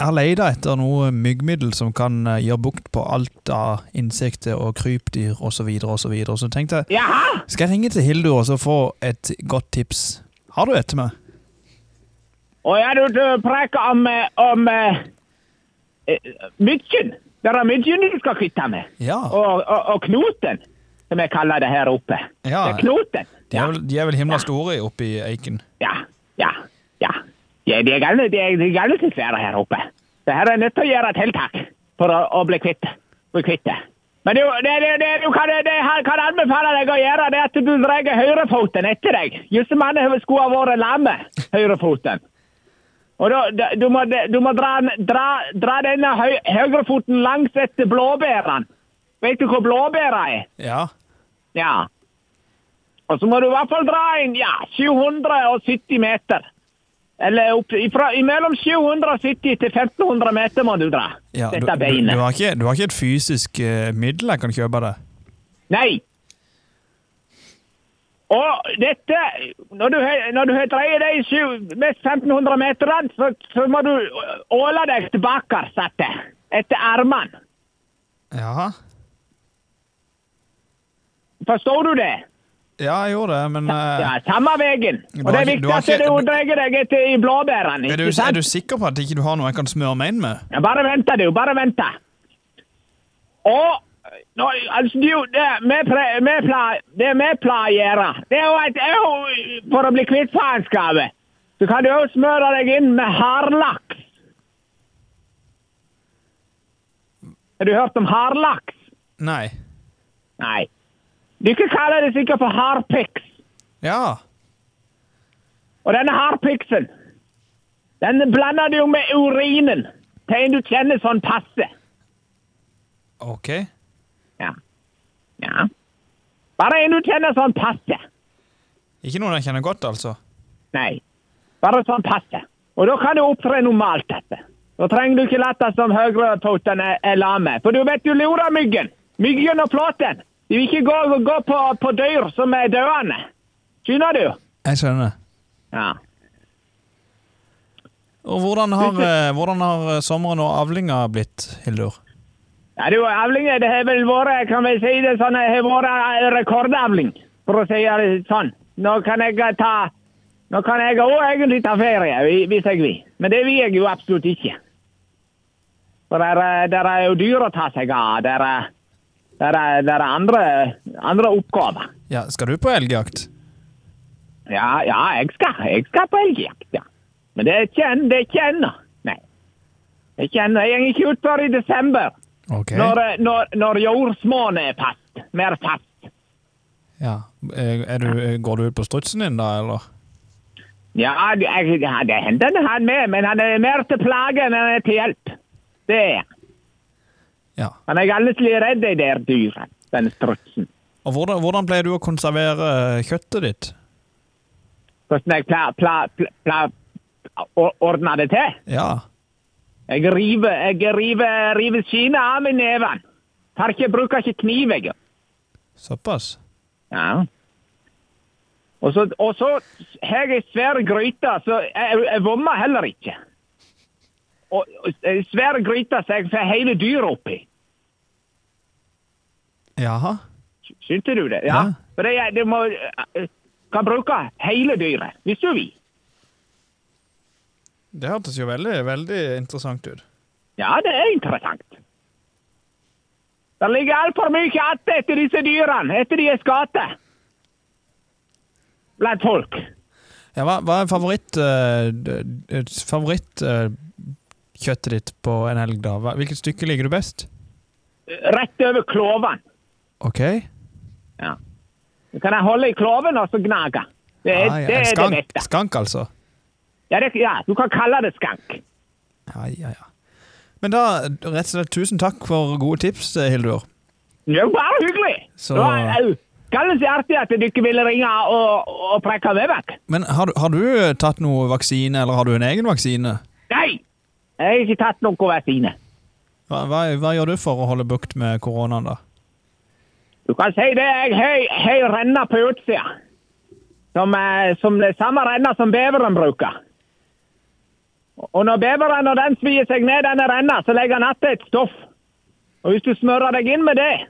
Speaker 1: jeg leter etter noe myggmiddel som kan eh, gjøre bukt på alt av insekter og krypdyr osv. Så, videre, og så, videre. så tenkte jeg
Speaker 5: Jaha?
Speaker 1: skal jeg ringe til Hildur og så få et godt tips. Har du et til meg?
Speaker 5: Og ja, du, du prater om, eh, om eh, eh, myggen. Det er myggen du skal kvitte med.
Speaker 1: Ja.
Speaker 5: Og, og, og knoten, som jeg kaller det her oppe.
Speaker 1: Ja.
Speaker 5: Det er knoten.
Speaker 1: De er vel, de er vel himla store oppe i Eiken.
Speaker 5: Ja, ja, ja. ja de er gamle, de er, de er gamle til svære her oppe. Det her er nødt til å gjøre tiltak for å, å bli kvitt bli kvitt det. Men du, det, det, det, du kan, det han kan anbefale deg å gjøre, det er at du drar høyrefoten etter deg. Just som han skulle ha vært lamme, høyrefoten. Og da, da, du må, du må dra, dra, dra denne høy, høyrefoten langs etter blåbærene. Vet du hvor blåbæra er?
Speaker 1: Ja.
Speaker 5: Ja. Og så må du i hvert fall dra inn ja, 770 meter. Eller opp, ifra, imellom 770 til 1500 meter må du dra.
Speaker 1: ja. Du,
Speaker 5: dette
Speaker 1: du,
Speaker 5: beinet.
Speaker 1: du, har ikke, du har ikke et fysisk eh, middel jeg kan kjøpe deg?
Speaker 5: Nei. Og dette Når du, har- når du har dreid de sju- mest 1500 meterne, så, så må du åle deg tilbake etter, etter armene.
Speaker 1: Ja.
Speaker 5: Forstår du det?
Speaker 1: ja, jeg gjorde det, men eh,
Speaker 5: Ja, samme veien.
Speaker 1: Du
Speaker 5: Og
Speaker 1: har
Speaker 5: det er
Speaker 1: ikke- du
Speaker 5: viktig
Speaker 1: har
Speaker 5: at du
Speaker 1: ikke-
Speaker 5: drar deg etter i blåbærene.
Speaker 1: Er du,
Speaker 5: ikke sant?
Speaker 1: er du sikker på at ikke du har noe jeg kan smøre meg inn med?
Speaker 5: Ja, bare vent da, du. Bare vent da. Og nå, altså, du, det vi pre- vi pla- det vi pleier å gjøre, det er jo at jeg, for å bli kvitt faenskapet, så kan du jo smøre deg inn med harlaks. Har du hørt om harlaks?
Speaker 1: Nei.
Speaker 5: Nei. Dere kaller det sikkert for harpiks.
Speaker 1: Ja.
Speaker 5: Og denne harpiksen, den blander du med urinen til en du kjenner sånn passe.
Speaker 1: Ok.
Speaker 5: Ja. Ja. Bare en du kjenner sånn passe.
Speaker 1: Ikke noen jeg kjenner godt, altså.
Speaker 5: Nei. Bare sånn passe. Og da kan du opptre normalt dette. Da trenger du ikke late som høyrefoten er er lame. For du vet du lurer myggen. Myggen og flåten. De vil ikke gå, gå på, på dyr som er døende. Skjønner du?
Speaker 1: Jeg skjønner.
Speaker 5: Ja.
Speaker 1: Og hvordan har, eh, hvordan har eh, sommeren og avlinga blitt, Hildur?
Speaker 5: Ja, du, avlinger, det har vel vært, kan vi si det sånn, det har vært rekordavling, for å si det sånn. Nå kan jeg ta, nå kan jeg også egentlig ta ferie, hvi- hvis jeg vil. Men det vil jeg jo absolutt ikke. For der, er- der er jo dyr å ta seg av, der er, der er, der er andre, andre oppgaver.
Speaker 1: Ja, skal du på elgjakt?
Speaker 5: Ja, ja, jeg skal, jeg skal på elgjakt, ja. Men det er ikke en- det er ikke ennå. Nei. Det er ikke ennå. Jeg går ikke ut før i desember.
Speaker 1: Ok.
Speaker 5: Når, eh, når, når jordsmonnet er fast, mer fast.
Speaker 1: Ja. Eh, Er du, eh, går du ut på strutsen din da, eller?
Speaker 5: Ja, det, jeg, ja, det hender han er med, men han er mer til plage enn han er til hjelp. Det er han.
Speaker 1: Ja.
Speaker 5: Han er galleslig redd de der dyra, den strutsen.
Speaker 1: Og hvordan, hvordan pleier du å konservere eh, kjøttet ditt?
Speaker 5: Hvordan jeg pla, pla, pla, pla, or- ordner det til?
Speaker 1: Ja.
Speaker 5: Jeg river, jeg river, river skinnet av med neven. Tar ikke, bruker ikke kniv, jeg.
Speaker 1: Såpass?
Speaker 5: Ja. Og så, og så har jeg ei svær gryte, så jeg, jeg vommer heller ikke. Og og ei svær gryte så jeg får hele dyret oppi.
Speaker 1: Jaha.
Speaker 5: Skjønte du det?
Speaker 1: Ja.
Speaker 5: Ja. For det, er- det må eh, Kan bruke hele dyret, hvis du vil.
Speaker 1: Det hørtes jo veldig, veldig interessant ut.
Speaker 5: Ja, det er interessant. Det ligger altfor mye igjen etter disse dyrene, etter de er skadet. Blant folk.
Speaker 1: Ja, hva, hva er favoritt eh, d- d- favoritt eh, kjøttet ditt på en helg, da? Hva, hvilket stykke liker du best?
Speaker 5: Rett over klovene.
Speaker 1: Ok.
Speaker 5: Ja. Så kan jeg holde i kloven og så gnage. Det er
Speaker 1: Ah, ja,
Speaker 5: Eh, det,
Speaker 1: en
Speaker 5: er det
Speaker 1: skank,
Speaker 5: beste.
Speaker 1: skank, altså.
Speaker 5: Ja, det, ja, du kan kalle det skank.
Speaker 1: Ja, ja, ja. Men da, rett og slett, tusen takk for gode tips, eh, Hildur.
Speaker 5: Det er jo bare hyggelig.
Speaker 1: Så-
Speaker 5: Det var au, Kallen så artig at dere ville ringe og, og prekke meg vekk.
Speaker 1: Men har, du- har du eh, tatt noe vaksine, eller har du en egen vaksine?
Speaker 5: Nei! Jeg har ikke tatt noen vaksine.
Speaker 1: Hva, hva, hva gjør du for å holde bukt med koronaen, da?
Speaker 5: Du kan si det. Jeg har- har ei renne på utsida. Som, er- som det samme renna som beveren bruker. Og når beveren når den svir seg ned denne renna, så legger han igjen et stoff. Og hvis du smører deg inn med det,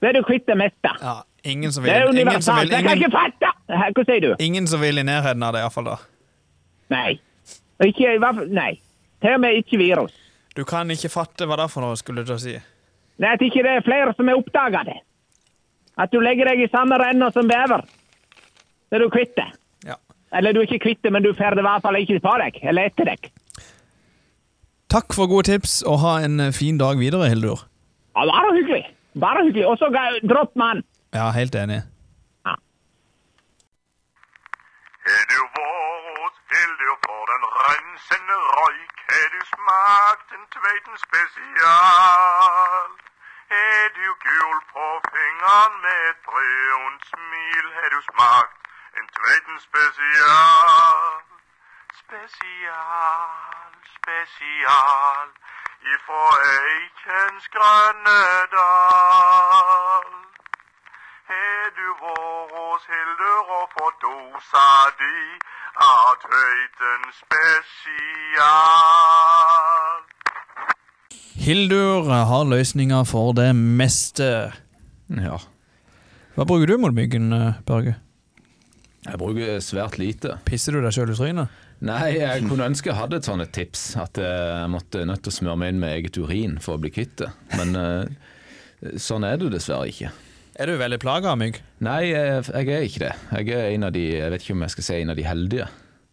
Speaker 5: så er du kvitt det meste.
Speaker 1: Ja, ingen som
Speaker 5: Det
Speaker 1: vil,
Speaker 5: er
Speaker 1: ingen som
Speaker 5: universalt.
Speaker 1: vil,
Speaker 5: Jeg kan
Speaker 1: ingen,
Speaker 5: ikke fatte! Hæ, Hva sier du?
Speaker 1: ingen som vil i nærheten av det, iallfall.
Speaker 5: Nei. Ikke, i hvert fall- nei. Til og med ikke virus.
Speaker 1: Du kan ikke fatte hva det er for noe, skulle du til å si.
Speaker 5: Nei, at ikke det er flere som har oppdaga det. At du legger deg i samme renna som bever. Så er du kvitt det.
Speaker 1: Ja.
Speaker 5: Eller du er ikke kvitt det, men du får det i hvert fall ikke på deg. Eller etter deg.
Speaker 1: Takk for gode tips, og ha en eh, fin dag videre, Hildur.
Speaker 5: Ja, bare hyggelig. Bare hyggelig. Og så ga- dropp mann.
Speaker 1: Ja, helt enig.
Speaker 4: Har du vært heldig og får den rensende røyk, har du smakt en Tveiten spesial. Er du gul på fingeren med et brunt smil, har du smakt en Tveiten spesial. Spesial, spesial, ifra Eikens grønne dal. Har du vært hos Hildur og fått dosa di av Tøyten spesial?
Speaker 1: Hildur eh, har løsninger for det meste.
Speaker 2: Ja.
Speaker 1: Hva bruker du mot myggen, eh, Børge?
Speaker 2: Jeg bruker svært lite.
Speaker 1: Pisser du deg sjøl i trynet?
Speaker 2: Nei, jeg kunne ønske jeg hadde et sånt et tips. At jeg måtte nødt til å smøre meg inn med eget urin for å bli kvitt det. Men eh, sånn er det dessverre ikke.
Speaker 1: Er du veldig plaga av mygg?
Speaker 2: Nei, jeg, jeg er ikke det. Jeg er en av de Jeg vet ikke om jeg skal si en av de heldige.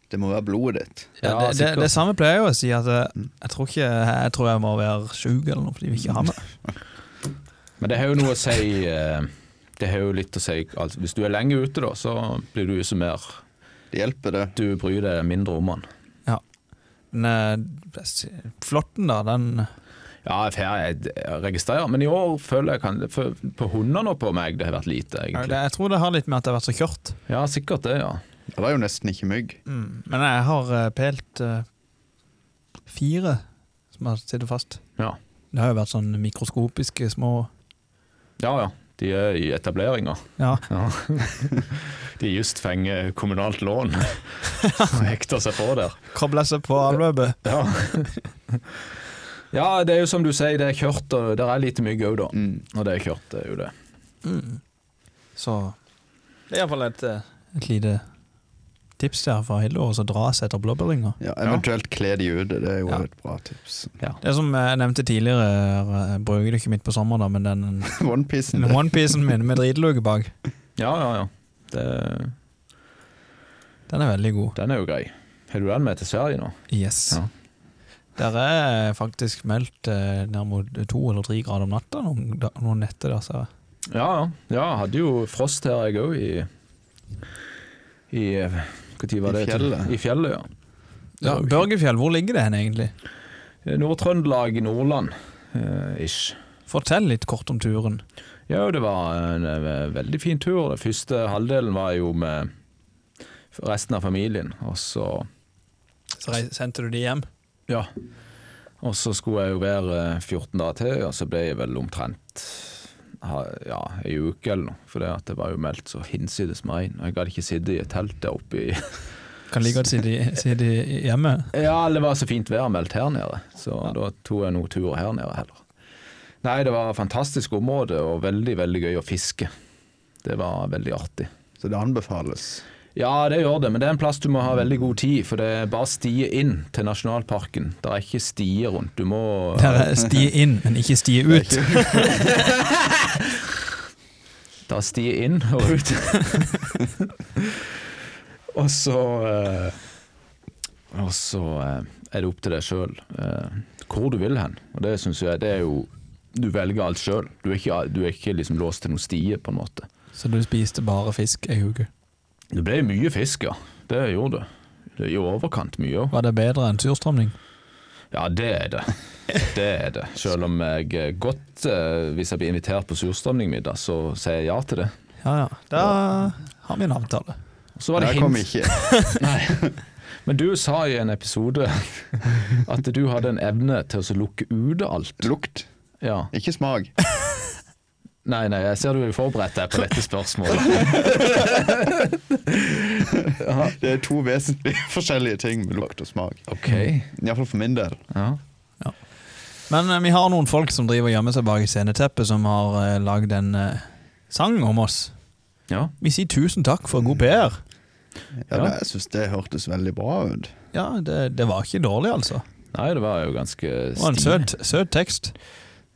Speaker 3: Det må være blodet ditt.
Speaker 1: Ja, Mm.
Speaker 2: Ja,
Speaker 1: det, det,
Speaker 2: sikkert.
Speaker 1: det samme pleier jeg jo å si. At jeg, jeg tror ikke eh, jeg tror jeg må være sjuk eller noe fordi vi ikke har med.
Speaker 2: Men det har jo noe å si eh, Det har jo litt å si altså, Hvis du er lenge ute, da, så blir du ikke mer
Speaker 3: Det hjelper, det.
Speaker 2: Du bryr deg mindre om den.
Speaker 1: Ja. Men, eh, flåtten, da, den
Speaker 2: Ja, jeg, får- jeg, jeg registrerer, men i år føler jeg kan, for, På hundene og på meg det har vært lite,
Speaker 1: Ja,
Speaker 2: egentlig.
Speaker 1: det- Jeg tror det har litt med at jeg har vært så kjørt.
Speaker 2: Ja, sikkert det, ja.
Speaker 3: Ja, Det er jo nesten ikke mygg.
Speaker 1: Men jeg har eh, pelt eh, fire som har sittet fast.
Speaker 2: Ja,
Speaker 1: Det har jo vært sånn mikroskopiske små
Speaker 2: ja. ja. De er i etableringa.
Speaker 1: Ja,
Speaker 2: Ja. De just fenger kommunalt lån og hekter seg på der.
Speaker 1: kobla seg på avløpet.
Speaker 2: Ja. ja, det er jo som du sier, det er kjørt, og der er lite mygg òg, da. Og det er kjørt, det er jo det.
Speaker 1: Så det er iallfall et, eh, et lite tips der fra Hildur, og så dras etter blåbærringer.
Speaker 3: Ja, eventuelt kle de ute, det er jo
Speaker 1: Ja.
Speaker 3: et bra tips.
Speaker 1: Det som jeg nevnte tidligere, jeg bruker det ikke midt på sommeren, da, men den
Speaker 3: Onepiecen.
Speaker 1: den onepiecen min med dritluke bak,
Speaker 2: Ja, ja, ja. Det,
Speaker 1: den er veldig god.
Speaker 2: den er jo grei. Har du den med til Sverige nå?
Speaker 1: Yes.
Speaker 2: Ja.
Speaker 1: Der er faktisk meldt eh, ned mot to eller tre grader om natta noen, da- noen netter. Der, så.
Speaker 2: Ja, ja. ja jeg hadde jo frost her, jeg òg, i I Når var
Speaker 3: I
Speaker 2: det?
Speaker 3: fjellet.
Speaker 2: I fjellet, ja.
Speaker 1: Ja, Børgefjell, hvor ligger det hen egentlig?
Speaker 2: Nord-Trøndelag, Nordland eh, ish.
Speaker 1: Fortell litt kort om turen.
Speaker 2: Ja, det var en eh, veldig fin tur. Den første halvdelen var jo med resten av familien. Og så,
Speaker 1: Så rei- sendte du de hjem?
Speaker 2: ja. og så skulle jeg jo være eh, 14 dager til, og så ble jeg vel omtrent ha- ja, ei uke eller noe. For det, at det var jo meldt så hinsides med regn. Og jeg hadde ikke sittet i et telt der oppe i
Speaker 1: Kan like godt si de, si de hjemme.
Speaker 2: Ja, det var så fint vær meldt her nede, så da tok jeg noen turer her nede heller. Nei, det var et fantastisk område og veldig, veldig gøy å fiske. Det var veldig artig.
Speaker 3: Så det anbefales.
Speaker 2: Ja, det gjør det, men det er en plass du må ha veldig god tid, for det er bare stier inn til nasjonalparken. Det er ikke stier rundt. Du må
Speaker 1: Der er stie inn, men ikke stie ut.
Speaker 2: Det er stier inn og ut. og så eh, Og så eh, er det opp til deg sjøl hvor du vil hen. Og det syns jeg det er jo Du velger alt sjøl. Du er ikke, du er ikke liksom låst til noen stier, på en måte.
Speaker 1: Så du spiste bare fisk ei uke.
Speaker 2: Det ble mye fisk, ja. Det gjorde det. Det er I overkant mye òg.
Speaker 1: Var det bedre enn surstrømning?
Speaker 2: Ja, det er det. Det er det. Selv om jeg eh, godt, eh, hvis jeg blir invitert på surstrømningmiddag, så sier jeg ja til det.
Speaker 1: Ja, ja. Da har vi en avtale.
Speaker 2: Og Så var det
Speaker 3: Jeg kom
Speaker 2: hint.
Speaker 3: ikke.
Speaker 2: Nei. Men du sa i en episode at du hadde en evne til å så lukke ute alt.
Speaker 3: Lukt,
Speaker 2: Ja.
Speaker 3: ikke smak.
Speaker 2: Nei, nei, jeg ser du er forberedt deg på dette spørsmålet.
Speaker 3: Det er to vesentlig forskjellige ting med lukt og smak.
Speaker 2: Ok.
Speaker 3: Iallfall for min del.
Speaker 2: Ja.
Speaker 1: Men eh, vi har noen folk som driver og gjemmer seg bak sceneteppet, som har uh, lagd en eh, sang om oss.
Speaker 2: ja.
Speaker 1: Vi sier tusen takk for god PR.
Speaker 3: Ja,
Speaker 2: Ja.
Speaker 3: det- Jeg syns det hørtes veldig bra ut.
Speaker 1: Ja, det, det var ikke dårlig, altså.
Speaker 2: Nei, det var jo ganske
Speaker 1: Det var en søt, søt tekst.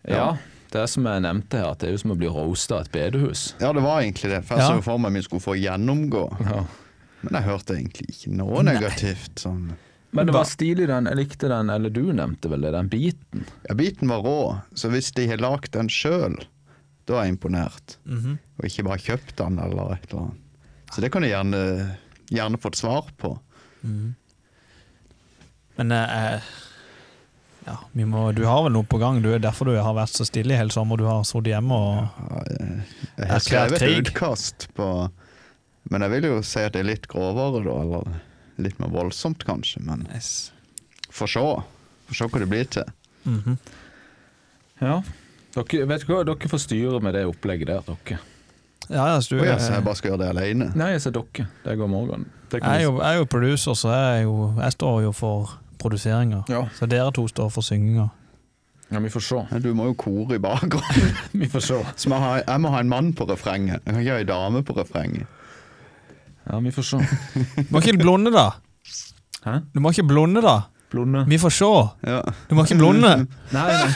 Speaker 2: Ja. Det er som jeg nevnte her, at det er jo som å bli roasta av et bedehus.
Speaker 3: Ja, det var egentlig det. For jeg
Speaker 1: Ja.
Speaker 3: så for meg vi skulle få gjennomgå.
Speaker 2: Ja.
Speaker 3: Men jeg hørte egentlig ikke noe negativt. Sånn.
Speaker 2: Men det var stilig den, jeg likte den, eller du nevnte vel det, den biten.
Speaker 3: Ja, Biten var rå, så hvis de har lagd den sjøl, da er jeg imponert. Og ikke bare kjøpt den eller et eller annet. Så det kan jeg gjerne, gjerne fått svar på.
Speaker 1: Men eh, ja, vi må, du har vel noe på gang? Du er derfor du har vært så stille i hele sommer. Du har sittet hjemme og
Speaker 3: Ja, jeg- Jeg har
Speaker 1: Erklært
Speaker 3: skrevet
Speaker 1: krig.
Speaker 3: et utkast på Men jeg vil jo si at det er litt grovere, da. Eller litt mer voldsomt, kanskje. Men får se. Får se hva det blir til.
Speaker 1: Mhm.
Speaker 2: Ja. Dere, vet du hva, dere får styre med det opplegget der, dere.
Speaker 1: Ja, ja, så du
Speaker 3: Og
Speaker 1: er,
Speaker 3: jeg, så jeg bare skal gjøre det alene.
Speaker 2: Nei, jeg sa dere. Det går morgen. Det kan
Speaker 1: jeg, er
Speaker 2: vi-
Speaker 1: jo, jeg er jo producer, så jeg, er jo, jeg står jo for produseringa.
Speaker 2: Ja.
Speaker 1: Så dere to står for synginga.
Speaker 2: ja, vi får se.
Speaker 3: Men Du må jo kore i bakgrunnen.
Speaker 2: Vi får se.
Speaker 3: Så jeg, har, jeg må ha en mann på refrenget. Jeg kan ikke ha ei dame på refrenget.
Speaker 2: Ja, vi får se.
Speaker 1: Du må ikke blunde, da!
Speaker 2: Hæ?
Speaker 1: Du må ikke blunde, da!
Speaker 2: Blonde?
Speaker 1: Vi får se!
Speaker 3: Ja.
Speaker 1: Du må ikke blunde!
Speaker 2: Nei, nei.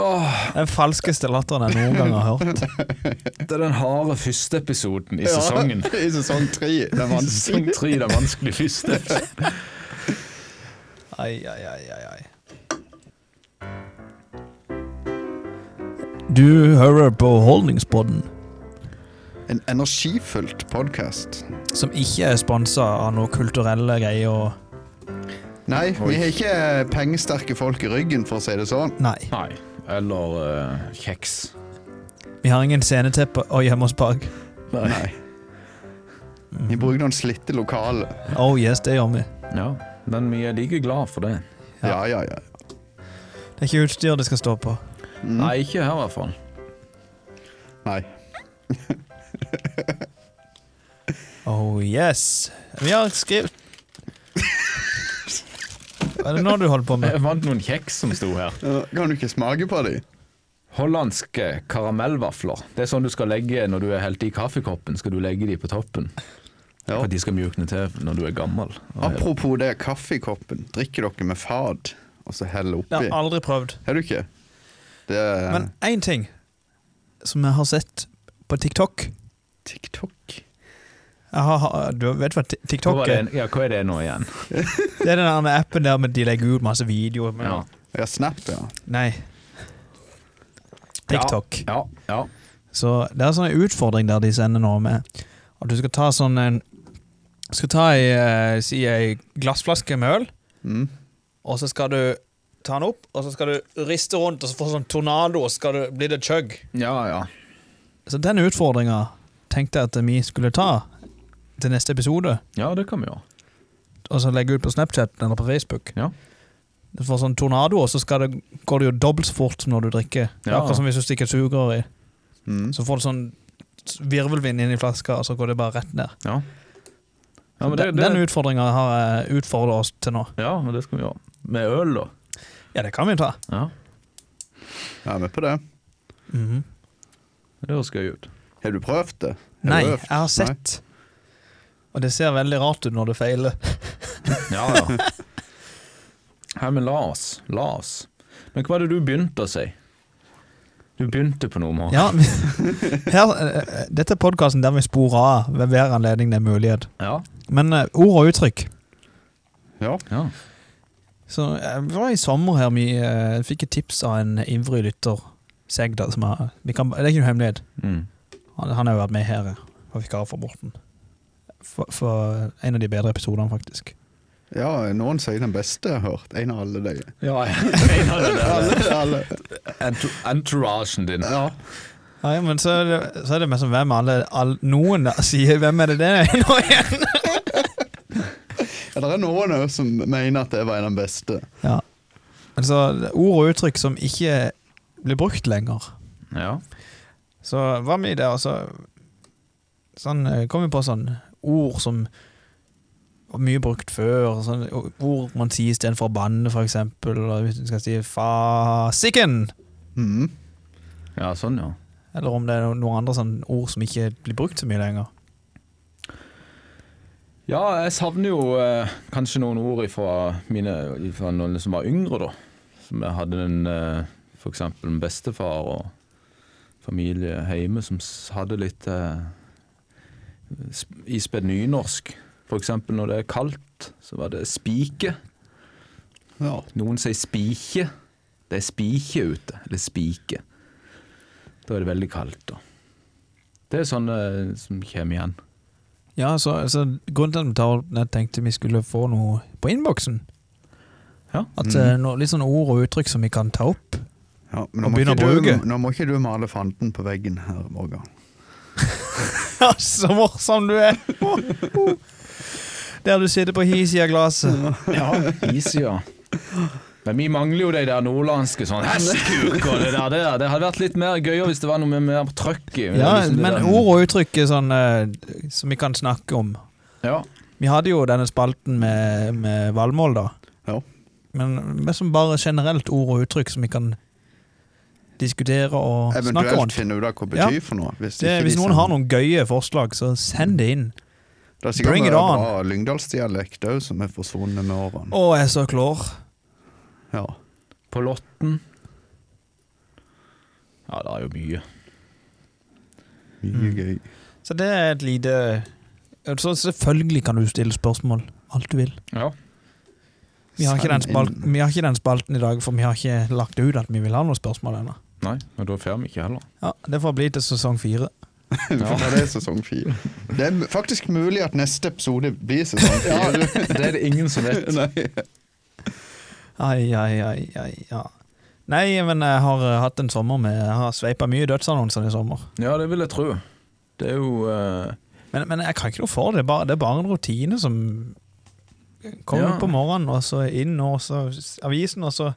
Speaker 2: Åh,
Speaker 1: Den falskeste latteren jeg noen gang har hørt.
Speaker 2: det er den harde første episoden i sesongen.
Speaker 3: Ja, I sesong tre. Det er
Speaker 2: Sesong
Speaker 3: vanskelig.
Speaker 2: tre, den vanskelige første episoden.
Speaker 1: Ai, ai, ai, ai, ai. Du hører på Holdningspodden,
Speaker 3: En energifullt podkast.
Speaker 1: som ikke er sponsa av noe kulturelle greier. og-
Speaker 3: Nei, vi har ikke pengesterke folk i ryggen, for å si det sånn.
Speaker 1: Nei.
Speaker 2: Nei. Eller eh, kjeks.
Speaker 1: Vi har ingen sceneteppe å gjemme oss bak.
Speaker 3: Nei. Vi bruker noen slitte lokaler.
Speaker 1: Oh yes, det gjør vi.
Speaker 2: Ja, men vi er like glad for det.
Speaker 3: Ja, ja, ja.
Speaker 1: Det er ikke utstyr det skal stå på.
Speaker 3: Mm.
Speaker 2: Nei, ikke her i hvert fall.
Speaker 3: Nei.
Speaker 1: Oh yes. Vi har skrevet Hva er det nå du holder på med?
Speaker 2: Jeg vant noen kjeks som sto her.
Speaker 3: Ja, Kan du ikke smake på dem?
Speaker 2: Hollandske karamellvafler. Det er sånn du skal legge når du er helt i kaffekoppen. Skal du legge de på toppen
Speaker 3: Ja. Ah,
Speaker 2: For at de skal mjukne til når du er gammel. Og helt-
Speaker 3: Apropos det kaffekoppen. Drikker dere med fad og så heller
Speaker 1: Det har
Speaker 3: oppi?
Speaker 1: jeg aldri prøvd.
Speaker 3: Har du ikke? Det er
Speaker 1: Men én ting som jeg har sett på TikTok
Speaker 3: TikTok.
Speaker 1: jeg har, Du vet hva Ti-
Speaker 2: Hva,
Speaker 1: TikTok
Speaker 2: er
Speaker 1: er?
Speaker 2: det, ja, hva er det nå igjen?
Speaker 1: Det er den der appen der med de legger ut masse videoer. Men,
Speaker 2: Ja.
Speaker 3: Ja, Snap, ja.
Speaker 1: Nei. TikTok.
Speaker 2: Ja, ja.
Speaker 1: Så det er en sånn utfordring der de sender nå med at du skal ta sånn en skal ta ei, eh, si ei glassflaske med øl,
Speaker 3: Mm.
Speaker 1: og så skal du ta den opp, og så skal du riste rundt, og så får du sånn tornado, og så skal du, blir det chug.
Speaker 2: ja, ja.
Speaker 1: Så den utfordringa tenkte jeg at vi skulle ta til neste episode,
Speaker 2: Ja, det kan vi gjøre.
Speaker 1: og så legge Altså, ut på Snapchat eller på Facebook.
Speaker 2: Ja.
Speaker 1: Du får sånn tornado, og så skal det, går det jo dobbelt så fort som når du drikker. Det er
Speaker 2: Ja.
Speaker 1: Akkurat som hvis du stikker sugerør i.
Speaker 3: Mm.
Speaker 1: Så får du sånn virvelvind inn i flaska, og så går det bare rett ned.
Speaker 2: Ja. Ja, men det,
Speaker 1: Den-
Speaker 2: det,
Speaker 1: Den utfordringa har jeg utfordra oss til nå.
Speaker 2: ja, men det skal vi gjøre. Med øl, da.
Speaker 1: Ja, det kan vi ta.
Speaker 2: Ja,
Speaker 3: Jeg er med på det.
Speaker 2: Det høres gøy ut.
Speaker 3: Har du prøvd det? Har
Speaker 1: Nei,
Speaker 3: du
Speaker 1: jeg
Speaker 3: øvd?
Speaker 1: har sett. Og det ser veldig rart ut når det feiler.
Speaker 2: Ja, ja. Hei, men la oss. La oss. Men hva var det du begynte å si? Du begynte på noe, Mark.
Speaker 1: Ja, men- her, eh, Dette er podkasten der vi sporer av ved hver anledning det er mulighet.
Speaker 2: Ja.
Speaker 1: Men eh, ord og uttrykk
Speaker 3: Nei. Ja.
Speaker 2: ja.
Speaker 1: Så eh, Det var i sommer her vi eh, fikk et tips av en ivrig lytter, Segda, som er vi kan, Det er ikke noe hemmelighet.
Speaker 2: Mm.
Speaker 1: Han, han har jo vært med her og vikar for Morten. For, for en av de bedre episodene, faktisk.
Speaker 3: Ja, noen sier den beste jeg har hørt. En av alle de.
Speaker 2: Ja, en av den der
Speaker 3: Alle, alle.
Speaker 2: entu- entouragen din.
Speaker 3: Ja.
Speaker 1: Nei, men så er det, så er det mest som hvem alle, all, Noen da sier 'hvem er det det er?' nå igjen.
Speaker 3: Ja, Det er noen også som mener at jeg var en av de beste.
Speaker 1: Ja. Altså, ord og uttrykk som ikke blir brukt lenger.
Speaker 2: Ja.
Speaker 1: Så hva med det, altså Sånn eh, kom vi på sånn ord som var mye brukt før. Sånn, o- ord man sier istedenfor å banne, for eksempel. Eller hvis du skal si 'fasiken'.
Speaker 3: Mhm.
Speaker 2: ja, sånn, ja.
Speaker 1: Eller om det er no- noen andre sånn ord som ikke blir brukt så mye lenger.
Speaker 2: Ja, jeg savner jo eh, kanskje noen ord fra mine fra noen som var yngre, da. Som jeg hadde en eh, for eksempel en bestefar og familie hjemme som s- hadde litt eh, sp- ispedd nynorsk. For eksempel når det er kaldt, så var det spike.
Speaker 3: Ja.
Speaker 2: Noen sier spike. Det er spike ute, eller spike. Da er det veldig kaldt, da. Det er sånne eh, som kommer igjen.
Speaker 1: Ja, så, så Grunnen til at vi tar opp den, jeg tenkte vi skulle få noe på innboksen.
Speaker 2: Ja.
Speaker 1: At eh, no, Litt sånne ord og uttrykk som vi kan ta opp.
Speaker 3: Ja, men
Speaker 1: Og
Speaker 3: nå må,
Speaker 1: begynne
Speaker 3: ikke
Speaker 1: å
Speaker 3: du,
Speaker 1: bruke.
Speaker 3: nå må ikke du male fanden på veggen her, Morgan.
Speaker 1: Ja, så morsom du er! Der du sitter på hi siden av glasset.
Speaker 2: Ja, Isøya. Men vi mangler jo de der nordlandske sånn hestekuk og det der. Det, der. det hadde vært litt mer gøyere hvis det var noe med mer trøkk i.
Speaker 1: Ja,
Speaker 2: liksom det
Speaker 1: men
Speaker 2: der-
Speaker 1: ord og uttrykk er sånn eh, som vi kan snakke om.
Speaker 2: Ja.
Speaker 1: Vi hadde jo denne spalten med, med valmål, da.
Speaker 3: Ja.
Speaker 1: Men mest som bare generelt ord og uttrykk som vi kan diskutere og snakke
Speaker 3: Eventuelt
Speaker 1: om.
Speaker 3: finne ut av hva det
Speaker 1: Ja.
Speaker 3: betyr for noe. Hvis,
Speaker 1: Det,
Speaker 3: ikke
Speaker 1: hvis
Speaker 3: de
Speaker 1: noen
Speaker 3: som-
Speaker 1: har noen gøye forslag, så send det inn.
Speaker 3: Det er sikkert
Speaker 1: Bring it
Speaker 3: mye
Speaker 1: on.
Speaker 3: bra lyngdalsdialekt òg som er forsvunnet med årene.
Speaker 1: Å, jeg er så klår.
Speaker 3: Ja.
Speaker 2: På Lotten. Ja, det er jo mye.
Speaker 1: Mm.
Speaker 3: Mye gøy.
Speaker 1: Så det er et lite Så selvfølgelig kan du stille spørsmål. Alt du vil.
Speaker 2: Ja.
Speaker 1: Vi har, ikke den
Speaker 3: Send
Speaker 1: spalten,
Speaker 3: inn.
Speaker 1: vi har ikke den spalten i dag, for vi har ikke lagt ut at vi vil ha noen spørsmål ennå.
Speaker 2: Nei, og da får vi ikke heller.
Speaker 1: Ja, det får bli til sesong fire.
Speaker 3: For da er det sesong fire. Det er m- faktisk mulig at neste episode blir sesong fire.
Speaker 2: Det er det ingen som vet.
Speaker 1: Ai, ai, ai, ai, ja. Nei, men jeg har eh, hatt en sommer med Jeg har sveipa mye dødsannonser i sommer.
Speaker 2: Ja, det vil jeg tro. Det er jo eh,
Speaker 1: Men, men jeg kan ikke noe for det. Det er bare, det er bare en rutine som kommer
Speaker 2: Ja.
Speaker 1: ut på morgenen, og så inn, og så s- avisen, og så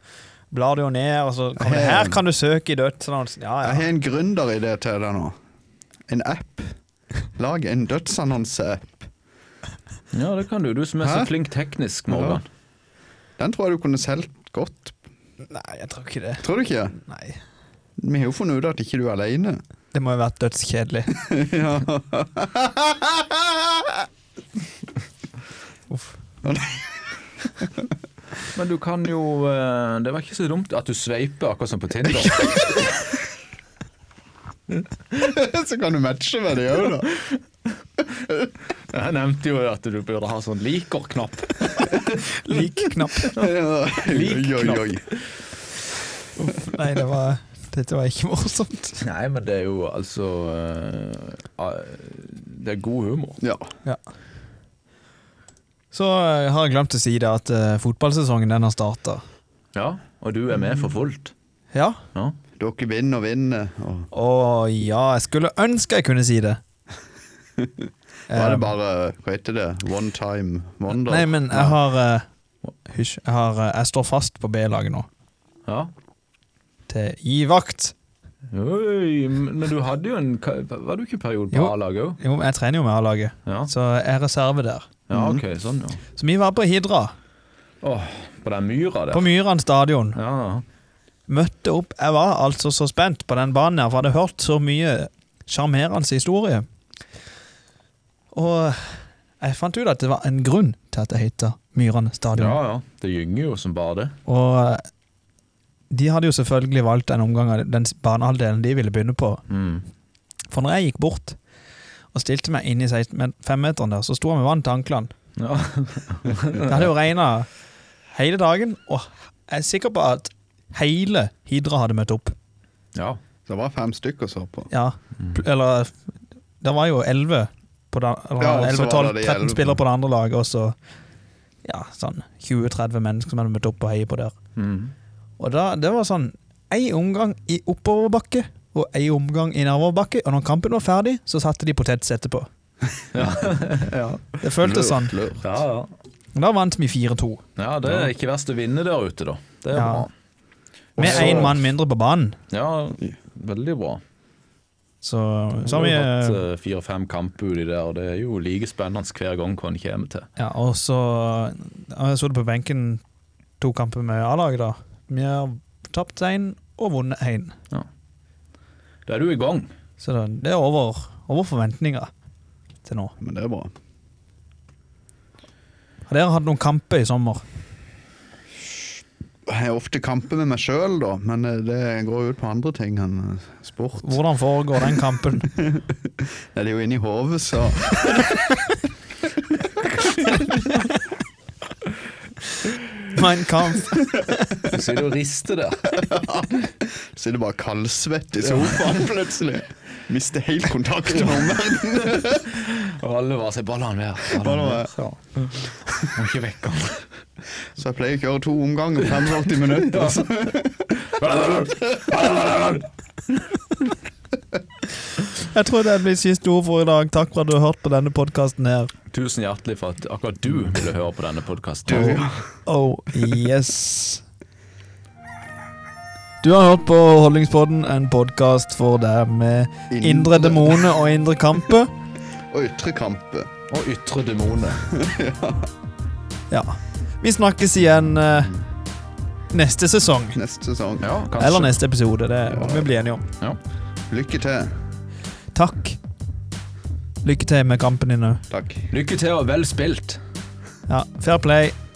Speaker 1: blar du jo ned, og så kommer det Her kan du søke i dødsannonsen. Ja,
Speaker 3: Jeg
Speaker 1: ja.
Speaker 3: har en gründeridé til deg nå. En app. Lag en dødsannonse-app.
Speaker 2: Ja, det kan du. Du som er så
Speaker 3: Hæ?
Speaker 2: flink teknisk, Morgan.
Speaker 3: Den tror jeg du kunne solgt godt.
Speaker 1: Nei, jeg tror ikke det.
Speaker 3: Tror du ikke?
Speaker 1: Nei.
Speaker 3: Vi har jo funnet ut at ikke du er aleine.
Speaker 1: Det må jo ha vært dødskjedelig. Uff.
Speaker 2: Men du kan jo eh, Det var ikke så dumt at du sveiper akkurat som på Tinder.
Speaker 3: Så kan du matche med det òg, da.
Speaker 2: Jeg nevnte jo at du burde ha sånn liker-knapp.
Speaker 1: Lik knapp.
Speaker 3: Oi, oi, oi.
Speaker 1: Nei, det var, dette var ikke morsomt.
Speaker 2: Nei, men det er jo altså eh, ah, Det er god humor.
Speaker 3: Ja.
Speaker 1: Ja. Så eh, har jeg glemt å si det at eh, fotballsesongen den har starta.
Speaker 2: Ja, og du er med for fullt.
Speaker 1: Ja.
Speaker 2: Ja.
Speaker 3: Dere vinner og vinner. Og
Speaker 1: Å ja, jeg skulle ønske jeg kunne si det.
Speaker 3: da er
Speaker 1: Eh,
Speaker 3: det bare Hva heter det? One time wonder?
Speaker 1: Nei, men jeg har eh, Hysj. Jeg, har, eh, jeg står fast på B-laget nå.
Speaker 2: ja.
Speaker 1: Til i vakt.
Speaker 2: Oi, men du hadde jo en ka- Var du ikke en periode på
Speaker 1: Jo.
Speaker 2: A-laget òg?
Speaker 1: Jo, jeg trener jo med A-laget,
Speaker 2: Ja.
Speaker 1: så jeg er reserve der.
Speaker 2: ja, ok, sånn, ja.
Speaker 1: Så vi var på Hidra,
Speaker 2: Åh, på den myra
Speaker 1: på
Speaker 2: der.
Speaker 1: Myran stadion.
Speaker 2: Ja,
Speaker 1: Møtte opp Jeg var altså så spent på den banen her, for jeg hadde hørt så mye sjarmerende historie. Og jeg fant ut at det var en grunn til at det heter Myran
Speaker 2: ja.
Speaker 1: stadion.
Speaker 2: ja. Det gynger jo som bare det.
Speaker 1: Og eh, de hadde jo selvfølgelig valgt den omgang av den s- banehalvdelen de ville begynne på.
Speaker 2: Mm.
Speaker 1: For når jeg gikk bort og stilte meg inn i 16 men- femmeteren der, så sto jeg med vann til anklene.
Speaker 2: Ja.
Speaker 1: Det hadde jo regna hele dagen, og jeg er sikker på at hele Hidra hadde møtt opp.
Speaker 2: ja.
Speaker 3: Så det var fem stykker så på.
Speaker 1: Ja, pl- eller Det var jo elleve på den, eller
Speaker 3: Ja, og så var det de
Speaker 1: 11-12-13
Speaker 3: elleve.
Speaker 1: spillere på det andre laget, og så ja, sånn 20-30 mennesker som hadde møtt opp og heiet på der.
Speaker 2: Mm.
Speaker 1: Og da, det var sånn Ei omgang i oppoverbakke og ei omgang i nedoverbakke, og når kampen var ferdig, så satte de potets etterpå.
Speaker 2: ja.
Speaker 1: Det føltes sånn.
Speaker 3: Lurt.
Speaker 2: Ja, ja.
Speaker 1: Og Da vant vi 4-2.
Speaker 2: ja, det er ikke verst å vinne der ute, da. Det er
Speaker 1: Ja.
Speaker 2: bra.
Speaker 1: Med
Speaker 2: Også-
Speaker 1: én mann mindre på banen.
Speaker 2: Ja, veldig bra.
Speaker 1: Så, så har vi
Speaker 2: har
Speaker 1: eh,
Speaker 2: hatt eh, fire-fem kamper uti der, og det er jo like spennende hver gang hva en kommer til.
Speaker 1: Ja, og så har jeg sittet på benken to kamper med A-laget, da. Vi har tapt én og vunnet én.
Speaker 2: Da er du i gang.
Speaker 1: Så da, det er over, over forventninger til nå.
Speaker 3: Men det er bra.
Speaker 1: Har dere hatt noen kamper i sommer?
Speaker 3: Jeg har ofte kamper med meg sjøl, da, men eh, det går ut på andre ting enn eh, sport. Nei,
Speaker 1: Hvordan foregår den kampen?
Speaker 3: Det er jo inni hodet, så
Speaker 1: Mein Kampf.
Speaker 2: Du sitter og rister der.
Speaker 3: sitter bare kaldsvett i sofaen plutselig. Mister helt kontakt med omverdenen.
Speaker 2: Og alle bare sier 'bare la han være'.
Speaker 3: Bare la han
Speaker 2: være. Må ikke vekke han.
Speaker 3: Så jeg pleier å kjøre to omganger, 45 minutter. Så.
Speaker 1: Jeg tror det blir siste ord for i dag. Takk for at du har hørt på denne podkasten her.
Speaker 2: Tusen hjertelig for at akkurat du ville høre på denne podkasten.
Speaker 3: Du,
Speaker 1: Oh, yes. Du har hørt på Holdningspodden, en podkast for deg med
Speaker 3: Indre.
Speaker 1: indre demoner og indre kamper.
Speaker 3: Og ytre kamper.
Speaker 2: Og ytre demoner.
Speaker 1: Ja. Vi snakkes igjen eh, neste sesong.
Speaker 3: Neste sesong.
Speaker 2: Ja, kanskje.
Speaker 1: Eller neste episode, det må vi bli enige om.
Speaker 2: Ja.
Speaker 3: Lykke til.
Speaker 1: Takk. Lykke til med kampen din òg.
Speaker 3: Takk.
Speaker 2: Lykke til og vel spilt.
Speaker 1: Ja, fair play.